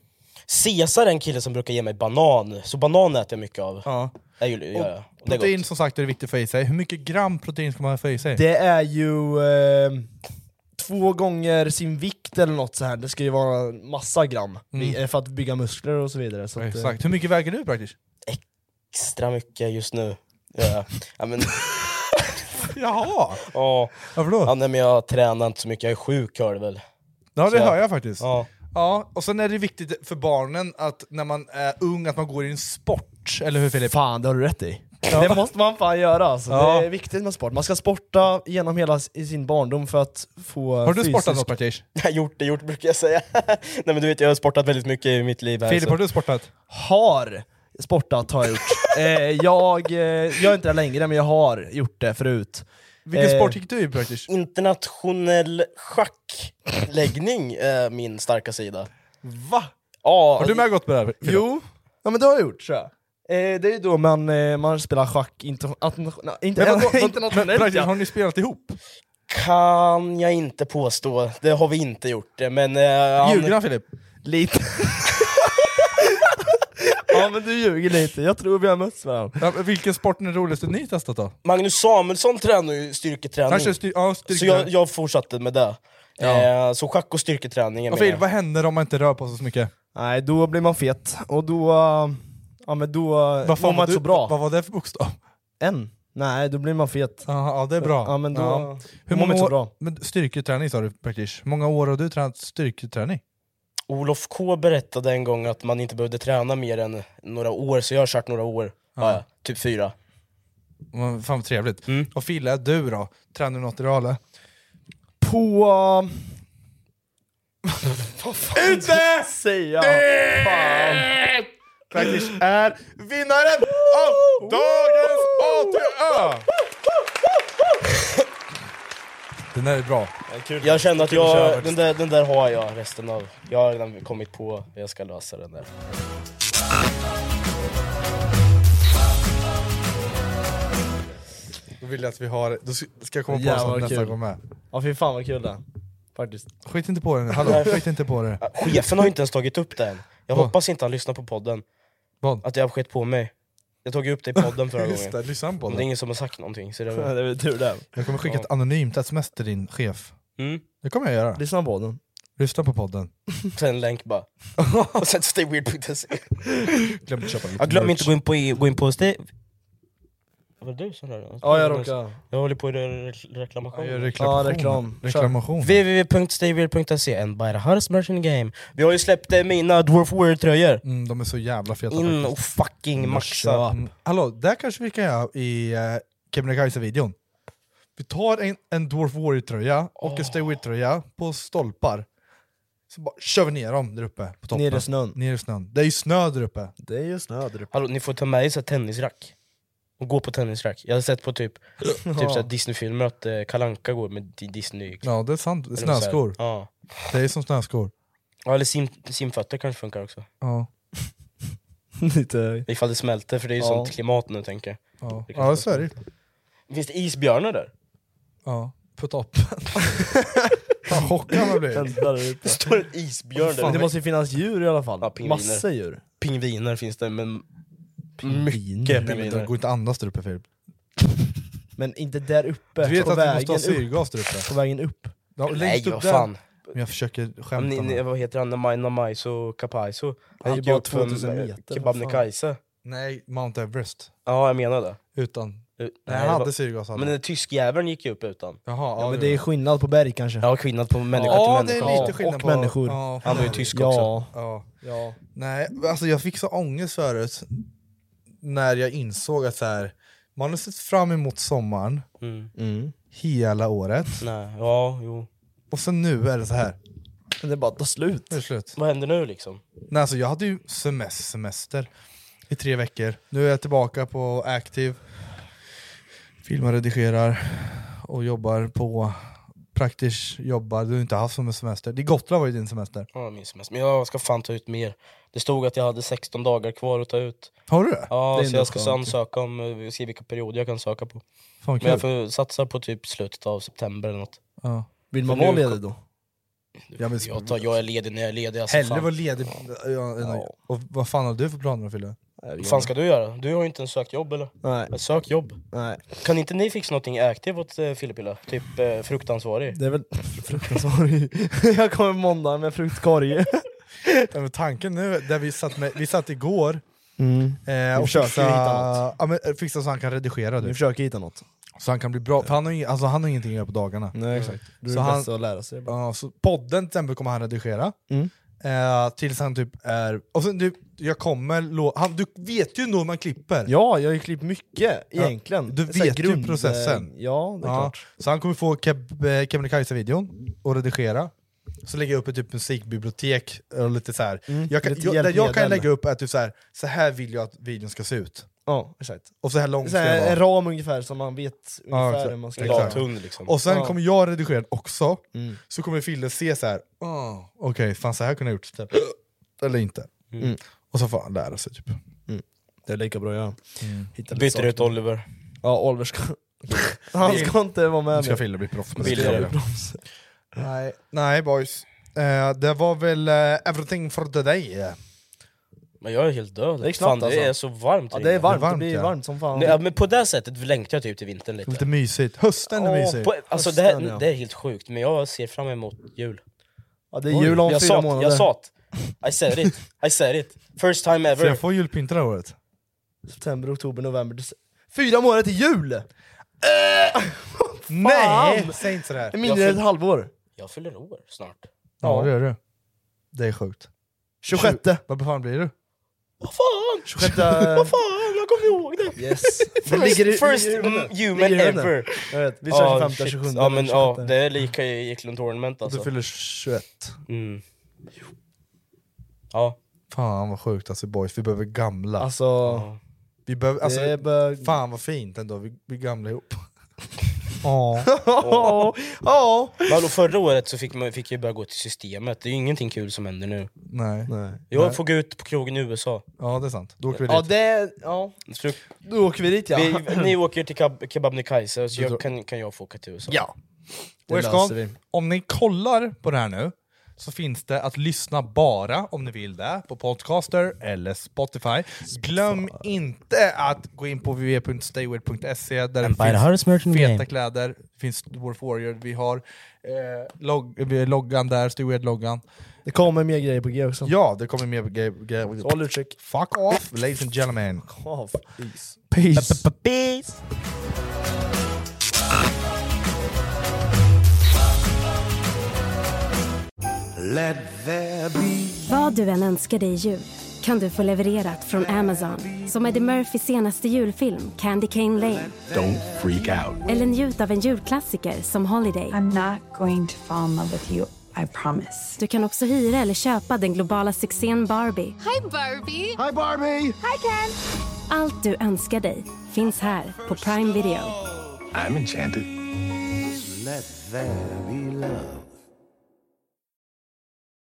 [SPEAKER 3] Cesar är en kille som brukar ge mig banan, så banan äter jag mycket av.
[SPEAKER 5] Ja.
[SPEAKER 3] Det är ju, ja, ja. Det är
[SPEAKER 5] Protein
[SPEAKER 3] gott.
[SPEAKER 5] som sagt är viktigt att få i sig. Hur mycket gram protein ska man få i sig?
[SPEAKER 11] Det är ju eh, två gånger sin vikt eller något så här. det ska ju vara massa gram
[SPEAKER 5] Mm.
[SPEAKER 11] eh, för att bygga muskler och så vidare. Så att, eh,
[SPEAKER 5] Exakt. Hur mycket väger du praktiskt?
[SPEAKER 3] Extra mycket just nu. Ja, ja, men,
[SPEAKER 5] Jaha!
[SPEAKER 3] ja.
[SPEAKER 5] Varför då?
[SPEAKER 3] Ja, nej, men jag tränar inte så mycket, jag är sjuk hör du väl?
[SPEAKER 5] Ja det
[SPEAKER 3] Så-
[SPEAKER 5] hör jag faktiskt.
[SPEAKER 3] Ja.
[SPEAKER 5] Ja, och sen är det viktigt för barnen att när man är ung att man går i en sport, eller hur Filip?
[SPEAKER 11] Fan, det har du rätt i. Det måste man fan göra alltså.
[SPEAKER 5] Ja.
[SPEAKER 11] Det är viktigt med sport. Man ska sporta genom hela s- i sin barndom för att få
[SPEAKER 5] Har du
[SPEAKER 11] fysisk...
[SPEAKER 5] sportat något Partish?
[SPEAKER 3] Jag har gjort det gjort brukar jag säga. nej men du vet jag har sportat väldigt mycket i mitt liv här.
[SPEAKER 5] Filip,
[SPEAKER 3] så-
[SPEAKER 5] har du sportat?
[SPEAKER 11] Har sportat har jag gjort. eh, jag eh, gör inte det längre, men jag har gjort det förut.
[SPEAKER 5] Vilken
[SPEAKER 11] Eh,
[SPEAKER 5] sport gick du i praktiskt?
[SPEAKER 3] Internationell schackläggning är min starka sida.
[SPEAKER 11] Va?
[SPEAKER 3] Ja,
[SPEAKER 5] Har du med gått på det här? Filip?
[SPEAKER 11] Jo, ja, men det har jag gjort tror jag. Eh, det är ju då man, eh, man spelar schack inter- interna- inte,
[SPEAKER 5] Men vadå, vad- men
[SPEAKER 11] internationellt.
[SPEAKER 5] Brasil,
[SPEAKER 11] ja.
[SPEAKER 5] har ni spelat ihop?
[SPEAKER 3] Kan jag inte påstå, det har vi inte gjort. eh, Men, eh,
[SPEAKER 11] Ljuger han,
[SPEAKER 5] Filip?
[SPEAKER 3] Lite.
[SPEAKER 11] ja men du ljuger lite, jag tror vi har mötts varandra.
[SPEAKER 5] vilken sport är den roligaste ni testat då?
[SPEAKER 3] Magnus Samuelsson tränar ju styrketräning.
[SPEAKER 5] Han kör styr- ja,
[SPEAKER 3] så
[SPEAKER 5] styrketräning.
[SPEAKER 3] jag, jag fortsatte med det. Eh, så schack och styrketräning är
[SPEAKER 5] Vad, fel,
[SPEAKER 3] med.
[SPEAKER 5] vad händer om man inte rör på sig så mycket?
[SPEAKER 11] Nej, då blir man fet. Och då... eh, Ja men då eh,
[SPEAKER 5] Vad fan
[SPEAKER 11] mår
[SPEAKER 5] var
[SPEAKER 11] man inte
[SPEAKER 5] du-
[SPEAKER 11] så bra.
[SPEAKER 5] Vad var det för bokstav?
[SPEAKER 11] En? Nej, då blir man fet.
[SPEAKER 5] Ja, ja det är bra.
[SPEAKER 11] Ja men då
[SPEAKER 5] Ja.
[SPEAKER 11] mår man inte så bra.
[SPEAKER 5] Men styrketräning sa du Praktish. Hur många år har du tränat styrketräning?
[SPEAKER 3] Olof K berättade en gång att man inte behövde träna mer än några år, så jag har kört några år.
[SPEAKER 5] Ja.
[SPEAKER 3] Ja, typ fyra.
[SPEAKER 5] Vad Fan vad trevligt.
[SPEAKER 11] Mm.
[SPEAKER 5] Och Fille, du då? Tränar du något idag eller?
[SPEAKER 11] På... eh, Vad fan Ute! Säga. Fan.
[SPEAKER 4] Praktiskt är vinnaren av dagens ATÖ!
[SPEAKER 5] Den där är bra.
[SPEAKER 3] Jag känner att
[SPEAKER 4] Kul att köra
[SPEAKER 3] jag,
[SPEAKER 4] faktiskt.
[SPEAKER 3] den, där, den där har jag resten av. Jag har redan kommit på hur jag ska lösa den där.
[SPEAKER 5] Då vill jag att vi har... Då ska ska jag komma på
[SPEAKER 11] Jävlar,
[SPEAKER 5] sånt
[SPEAKER 11] vad
[SPEAKER 5] nästa
[SPEAKER 11] kul.
[SPEAKER 5] gång med.
[SPEAKER 11] Ja fy fan vad kul det är. Faktiskt.
[SPEAKER 5] Skit inte på det nu, hallå. Skit inte på det.
[SPEAKER 3] Chefen har ju inte ens tagit upp den. Jag
[SPEAKER 5] Vad?
[SPEAKER 3] hoppas inte han lyssnar på podden.
[SPEAKER 5] Vad?
[SPEAKER 3] Att jag har skett på mig. Jag tog ju upp det i podden förra
[SPEAKER 5] Just
[SPEAKER 3] gången.
[SPEAKER 5] det, lyssnar han på
[SPEAKER 3] Men det
[SPEAKER 5] den?
[SPEAKER 3] är ingen som har sagt någonting. Så det
[SPEAKER 11] Ja, det är väl tur det.
[SPEAKER 5] Jag kommer skicka ett anonymt sms till din chef.
[SPEAKER 3] Mm.
[SPEAKER 5] Det kommer jag göra.
[SPEAKER 11] Lyssna på den.
[SPEAKER 5] Lyssna på podden.
[SPEAKER 3] Sen en länk bara. Och sen stayweird.se.
[SPEAKER 5] Glöm inte köpa lite
[SPEAKER 3] Ja, glöm
[SPEAKER 5] merch.
[SPEAKER 3] inte gå in på, i- gå in på stay... Var det du som rörde den?
[SPEAKER 11] Ja, jag råkade.
[SPEAKER 3] Jag håller på att göra re- reklamation.
[SPEAKER 11] Ja, gör reklamation. Ja, reklam. Kör.
[SPEAKER 5] Reklamation.
[SPEAKER 3] www.stayweird.se and buy the hardest merch in the game. Vi har ju släppt eh, mina Dwarf Warrior-tröjor.
[SPEAKER 5] Mm, de är så jävla feta
[SPEAKER 3] In
[SPEAKER 5] faktiskt.
[SPEAKER 3] och fucking maxa.
[SPEAKER 5] Mm. Hallå, där kanske vi kan göra i eh, Kebnekaise-videon. Vi tar en, en Dwarf Warrior-tröja och en Stay Weird-tröja på stolpar. Så bara kör vi ner dem där uppe på toppen.
[SPEAKER 11] Ner i snön.
[SPEAKER 5] Ner i snön. Det är ju snö där uppe.
[SPEAKER 11] Det är ju snö där uppe.
[SPEAKER 3] Hallå, ni får ta med er så här tennisrack. Och gå på tennisrack. Jag har sett på typ, typ så här Disney-filmer att eh, Kalanka går med di- Disney...
[SPEAKER 5] Ja, det är sant. Det är
[SPEAKER 3] Eller så här-
[SPEAKER 5] snöskor.
[SPEAKER 3] Ja.
[SPEAKER 5] Det är som snöskor.
[SPEAKER 3] Ja, eller sim, simfötter kanske funkar också.
[SPEAKER 5] Ja.
[SPEAKER 11] Lite...
[SPEAKER 3] Ifall det smälter, för det är ju
[SPEAKER 11] Ja.
[SPEAKER 3] sånt klimat nu tänker jag.
[SPEAKER 5] Ja,
[SPEAKER 3] Det kanske
[SPEAKER 5] ja så är det
[SPEAKER 3] Finns det isbjörnar där?
[SPEAKER 5] Ja, på toppen. Fan chockad man blir.
[SPEAKER 3] Det står en isbjörn där.
[SPEAKER 11] Fan, det måste ju finnas djur i alla fall. Massa djur.
[SPEAKER 3] Pingviner finns det, men
[SPEAKER 5] Mm. Nej,
[SPEAKER 3] mycket
[SPEAKER 5] men Det
[SPEAKER 3] pingviner.
[SPEAKER 5] går inte att andas där uppe Filip.
[SPEAKER 11] Men inte där uppe.
[SPEAKER 5] Du vet
[SPEAKER 11] på
[SPEAKER 5] att vi måste ha
[SPEAKER 11] vägen upp.
[SPEAKER 5] syrgas där uppe.
[SPEAKER 11] På vägen upp.
[SPEAKER 5] Ja,
[SPEAKER 3] Nej,
[SPEAKER 5] längst upp
[SPEAKER 3] vad
[SPEAKER 5] där.
[SPEAKER 3] fan.
[SPEAKER 5] Men jag försöker
[SPEAKER 3] Men
[SPEAKER 5] skämta.
[SPEAKER 3] ni, ni,
[SPEAKER 5] med.
[SPEAKER 3] vad heter han? Namai Namaiso Kapaiso?
[SPEAKER 5] Han
[SPEAKER 3] Han
[SPEAKER 5] är
[SPEAKER 3] gick ju
[SPEAKER 5] bara
[SPEAKER 3] upp för
[SPEAKER 5] 2000
[SPEAKER 3] eh,
[SPEAKER 5] meter, vad fan.
[SPEAKER 3] Kebnekaise.
[SPEAKER 5] Nej, Mount Everest.
[SPEAKER 3] Ja, jag menar det.
[SPEAKER 5] Utan.
[SPEAKER 3] Nej,
[SPEAKER 5] Nej, han
[SPEAKER 3] det
[SPEAKER 5] hade
[SPEAKER 3] var-
[SPEAKER 5] syrgas. hade
[SPEAKER 3] Men
[SPEAKER 5] han.
[SPEAKER 3] den tyskjäveln gick ju upp utan.
[SPEAKER 5] Jaha,
[SPEAKER 11] Ja, men
[SPEAKER 5] jo,
[SPEAKER 11] det är
[SPEAKER 5] jo.
[SPEAKER 11] skillnad på berg kanske.
[SPEAKER 3] Ja, skillnad på människa
[SPEAKER 5] Ja,
[SPEAKER 3] till
[SPEAKER 5] det
[SPEAKER 3] människa.
[SPEAKER 5] är lite
[SPEAKER 11] Ja,
[SPEAKER 5] skillnad
[SPEAKER 11] och
[SPEAKER 5] på...
[SPEAKER 11] människor.
[SPEAKER 5] Ja,
[SPEAKER 3] Han var ju tysk
[SPEAKER 11] Ja.
[SPEAKER 3] också.
[SPEAKER 5] Ja.
[SPEAKER 11] Ja.
[SPEAKER 5] Nej, alltså jag fick så ångest förut när jag insåg att så här, man har sett fram emot sommaren
[SPEAKER 3] Mm.
[SPEAKER 5] hela året
[SPEAKER 3] Nej, ja, jo.
[SPEAKER 5] och sen nu är det så här.
[SPEAKER 11] Men det bara tar slut.
[SPEAKER 5] Det är slut.
[SPEAKER 3] Vad händer nu liksom?
[SPEAKER 5] Nej, alltså jag hade ju semester, semester i tre veckor. Nu är jag tillbaka på Active, filmar, redigerar och jobbar på praktiskt jobbar. Du har inte haft som en semester. Det Gotland var ju din semester.
[SPEAKER 3] Ja, jag minns mest. Men jag ska fan ta ut mer. Det stod att jag hade 16 dagar kvar att ta ut.
[SPEAKER 5] Har du det?
[SPEAKER 3] Ja,
[SPEAKER 5] Det
[SPEAKER 3] så
[SPEAKER 5] är ändå
[SPEAKER 3] jag ska
[SPEAKER 5] skönt.
[SPEAKER 3] så ansöka om, eh, se vilka perioder jag kan söka på.
[SPEAKER 5] Fan, vad
[SPEAKER 3] Men jag
[SPEAKER 5] kul.
[SPEAKER 3] får satsa på typ slutet av september eller något.
[SPEAKER 5] Ja.
[SPEAKER 11] Vill
[SPEAKER 3] man
[SPEAKER 11] man
[SPEAKER 3] vara
[SPEAKER 11] vara
[SPEAKER 3] ledig
[SPEAKER 11] ledig då?
[SPEAKER 5] Jag, vill...
[SPEAKER 3] Jag, tar, jag är ledig när jag är ledig. Alltså,
[SPEAKER 5] Hellre
[SPEAKER 3] fan.
[SPEAKER 5] vara ledig ja. än att- Och vad fan har du för planer Fille?
[SPEAKER 3] Vad fan ska du göra? Du har ju inte ens sökt jobb eller?
[SPEAKER 11] Nej.
[SPEAKER 3] Sök jobb.
[SPEAKER 11] Nej.
[SPEAKER 3] Kan inte ni fixa någonting aktivt åt eh, Filipilla? Typ eh, fruktansvarig?
[SPEAKER 11] Det är väl fruktansvarig. jag kommer måndag med fruktkorg.
[SPEAKER 5] Ja, men tanken nu, där vi satt, med, vi satt igår eh,
[SPEAKER 11] Vi
[SPEAKER 5] och
[SPEAKER 11] försöker
[SPEAKER 5] fixa,
[SPEAKER 11] hitta
[SPEAKER 5] ja, men, fixa så han kan redigera
[SPEAKER 11] Vi
[SPEAKER 5] du.
[SPEAKER 11] försöker hitta något.
[SPEAKER 5] Så han kan bli bra, för han har, ing, alltså, han har ingenting att göra på dagarna.
[SPEAKER 11] Nej exakt. Du
[SPEAKER 5] Så
[SPEAKER 11] är
[SPEAKER 5] han-
[SPEAKER 11] bäst att lära sig.
[SPEAKER 5] Ja, så podden till exempel kommer han redigera.
[SPEAKER 11] Mm.
[SPEAKER 5] Eh, tills han typ är... Och sen, du, jag kommer lå- han, Du vet ju nog hur man klipper.
[SPEAKER 11] Ja, jag har ju klippt mycket egentligen.
[SPEAKER 5] Du
[SPEAKER 11] Så här
[SPEAKER 5] vet ju processen.
[SPEAKER 11] Ja, det är
[SPEAKER 5] Ja,
[SPEAKER 11] klart.
[SPEAKER 5] Så han kommer få Keb- eh, Kebnekaise-videon och redigera. Så lägger jag upp ett typ musikbibliotek och lite så här.
[SPEAKER 11] Mm,
[SPEAKER 5] Jag kan,
[SPEAKER 11] lite
[SPEAKER 5] jag, där jag kan
[SPEAKER 11] hjälpmedel.
[SPEAKER 5] lägga upp är typ så här, så här vill jag att videon ska se ut.
[SPEAKER 11] Ja, exakt.
[SPEAKER 5] Och så här lång
[SPEAKER 11] Så
[SPEAKER 5] ska
[SPEAKER 11] här,
[SPEAKER 5] den
[SPEAKER 11] en
[SPEAKER 5] vara.
[SPEAKER 11] ram ungefär som man vet
[SPEAKER 5] Ja,
[SPEAKER 11] ungefär
[SPEAKER 5] exakt.
[SPEAKER 11] hur man ska
[SPEAKER 5] Exakt.
[SPEAKER 11] göra.
[SPEAKER 3] Tunn liksom.
[SPEAKER 5] Och sen
[SPEAKER 11] Ja.
[SPEAKER 5] kommer jag redigera den också,
[SPEAKER 11] Mm.
[SPEAKER 5] så kommer Fille se så här. "Ah, okej, fan så här kunde jag gjort. Typ. "Ah, Eller inte.
[SPEAKER 3] Mm.
[SPEAKER 5] Och så får han lära sig typ.
[SPEAKER 11] Det är lika bra att göra.
[SPEAKER 5] Mm.
[SPEAKER 11] Hitta lite
[SPEAKER 3] Byter
[SPEAKER 11] saker.
[SPEAKER 3] ut Oliver.
[SPEAKER 11] Ja, Oliver ska... Han ska inte vara med
[SPEAKER 5] Ska Fille bli proffs på det?
[SPEAKER 3] Billigare.
[SPEAKER 5] Nej, nej boys. Eh, det var väl eh, everything for today.
[SPEAKER 3] Men jag är helt död.
[SPEAKER 5] Det gick
[SPEAKER 3] fan,
[SPEAKER 5] snabbt,
[SPEAKER 3] det
[SPEAKER 5] alltså.
[SPEAKER 3] är så varmt
[SPEAKER 5] Ja,
[SPEAKER 3] här
[SPEAKER 5] det är
[SPEAKER 3] inne.
[SPEAKER 5] varmt, det Varmt, blir ja. varmt
[SPEAKER 11] som fan.
[SPEAKER 3] Nej, ja, men på det sättet längtar jag typ till vintern lite.
[SPEAKER 5] Lite mysigt. Hösten är
[SPEAKER 3] Ja,
[SPEAKER 5] mysig.
[SPEAKER 3] På, alltså det, här,
[SPEAKER 5] Hösten, ja.
[SPEAKER 3] det är helt sjukt, men jag ser fram emot jul.
[SPEAKER 11] Ja, det är jul om
[SPEAKER 3] jag
[SPEAKER 11] fyra
[SPEAKER 3] sa det,
[SPEAKER 11] månader.
[SPEAKER 3] Jag sa det. I said it, I said it. First time
[SPEAKER 5] Får
[SPEAKER 3] ever.
[SPEAKER 5] jag få julpynta det här året?
[SPEAKER 11] September, oktober, november, december. Fyra månader till jul!
[SPEAKER 5] Nej! Säg inte sådär.
[SPEAKER 11] Det är mindre än ett halvår.
[SPEAKER 3] Jag fyller år snart.
[SPEAKER 5] Ja, det gör du. Det är sjukt.
[SPEAKER 11] 26.
[SPEAKER 5] Vad fan blir du?
[SPEAKER 3] Vad fan!
[SPEAKER 5] 26.
[SPEAKER 3] Vad fan, jag kommer ihåg det!
[SPEAKER 11] Yes.
[SPEAKER 3] First,
[SPEAKER 11] ligger i-
[SPEAKER 3] first
[SPEAKER 11] ligger i huvudet.
[SPEAKER 3] mm, human
[SPEAKER 11] Ligger i huvudet.
[SPEAKER 3] ever!
[SPEAKER 11] Jag vet, vi kör
[SPEAKER 3] Ja,
[SPEAKER 11] 25,
[SPEAKER 3] shit.
[SPEAKER 11] 27,
[SPEAKER 3] Ja men ja,
[SPEAKER 11] 26.
[SPEAKER 3] det är lika i Eklund Tournament alltså.
[SPEAKER 5] Du fyller 21.
[SPEAKER 3] Mm. Ja.
[SPEAKER 5] Fan vad sjukt alltså boys, vi behöver gamla.
[SPEAKER 11] Alltså,
[SPEAKER 5] vi behöver, alltså
[SPEAKER 11] det är bara-
[SPEAKER 5] Fan vad fint ändå, vi blir gamla ihop. Ja.
[SPEAKER 11] Ja. Ja.
[SPEAKER 3] Men hallå, förra året så fick, man, fick jag börja gå till systemet, det är ju ingenting kul som händer nu.
[SPEAKER 5] Nej. Nej.
[SPEAKER 3] Jag får gå ut på krogen i USA.
[SPEAKER 5] Ja det är sant, då åker vi
[SPEAKER 11] Ja,
[SPEAKER 5] dit.
[SPEAKER 11] det... Ja.
[SPEAKER 3] Fruk-
[SPEAKER 11] Då åker vi dit ja.
[SPEAKER 3] Vi, ni åker till Keb- Kebabnekaise, så jag, kan, kan jag få åka till USA.
[SPEAKER 5] Ja.
[SPEAKER 11] Det
[SPEAKER 5] Where's
[SPEAKER 11] löser
[SPEAKER 5] Gone?
[SPEAKER 11] vi.
[SPEAKER 5] Om ni kollar på det här nu så finns det att lyssna bara om ni vill det på Podcaster eller Spotify. Glöm inte att gå in på www.stayweird.se där
[SPEAKER 3] And buy the hardest
[SPEAKER 5] det
[SPEAKER 3] merch in the
[SPEAKER 5] finns feta
[SPEAKER 3] game.
[SPEAKER 5] kläder, det finns Dwarf Warrior, vi har eh, log vi har loggan där, Stayweird-loggan.
[SPEAKER 11] Det kommer mer grejer på G också.
[SPEAKER 5] Ja, det kommer mer grejer. grejer.
[SPEAKER 11] Så håll utkik.
[SPEAKER 5] Fuck off, ladies and gentlemen.
[SPEAKER 11] Av. Peace.
[SPEAKER 5] Peace.
[SPEAKER 11] Peace.
[SPEAKER 15] Let there be
[SPEAKER 16] Vad du än önskar dig i jul kan du få levererat från Amazon. Som Eddie Murphys senaste julfilm Candy Cane Lane.
[SPEAKER 15] Don't freak out.
[SPEAKER 16] Eller njut av en julklassiker som Holiday. I'm not going to fall in love with you. I promise. Du kan också hyra eller köpa den globala succén Barbie.
[SPEAKER 17] Hi Barbie! Hi Barbie! Hi Ken!
[SPEAKER 16] Allt du önskar dig finns här på Prime Video.
[SPEAKER 15] I'm enchanted. Let there be love.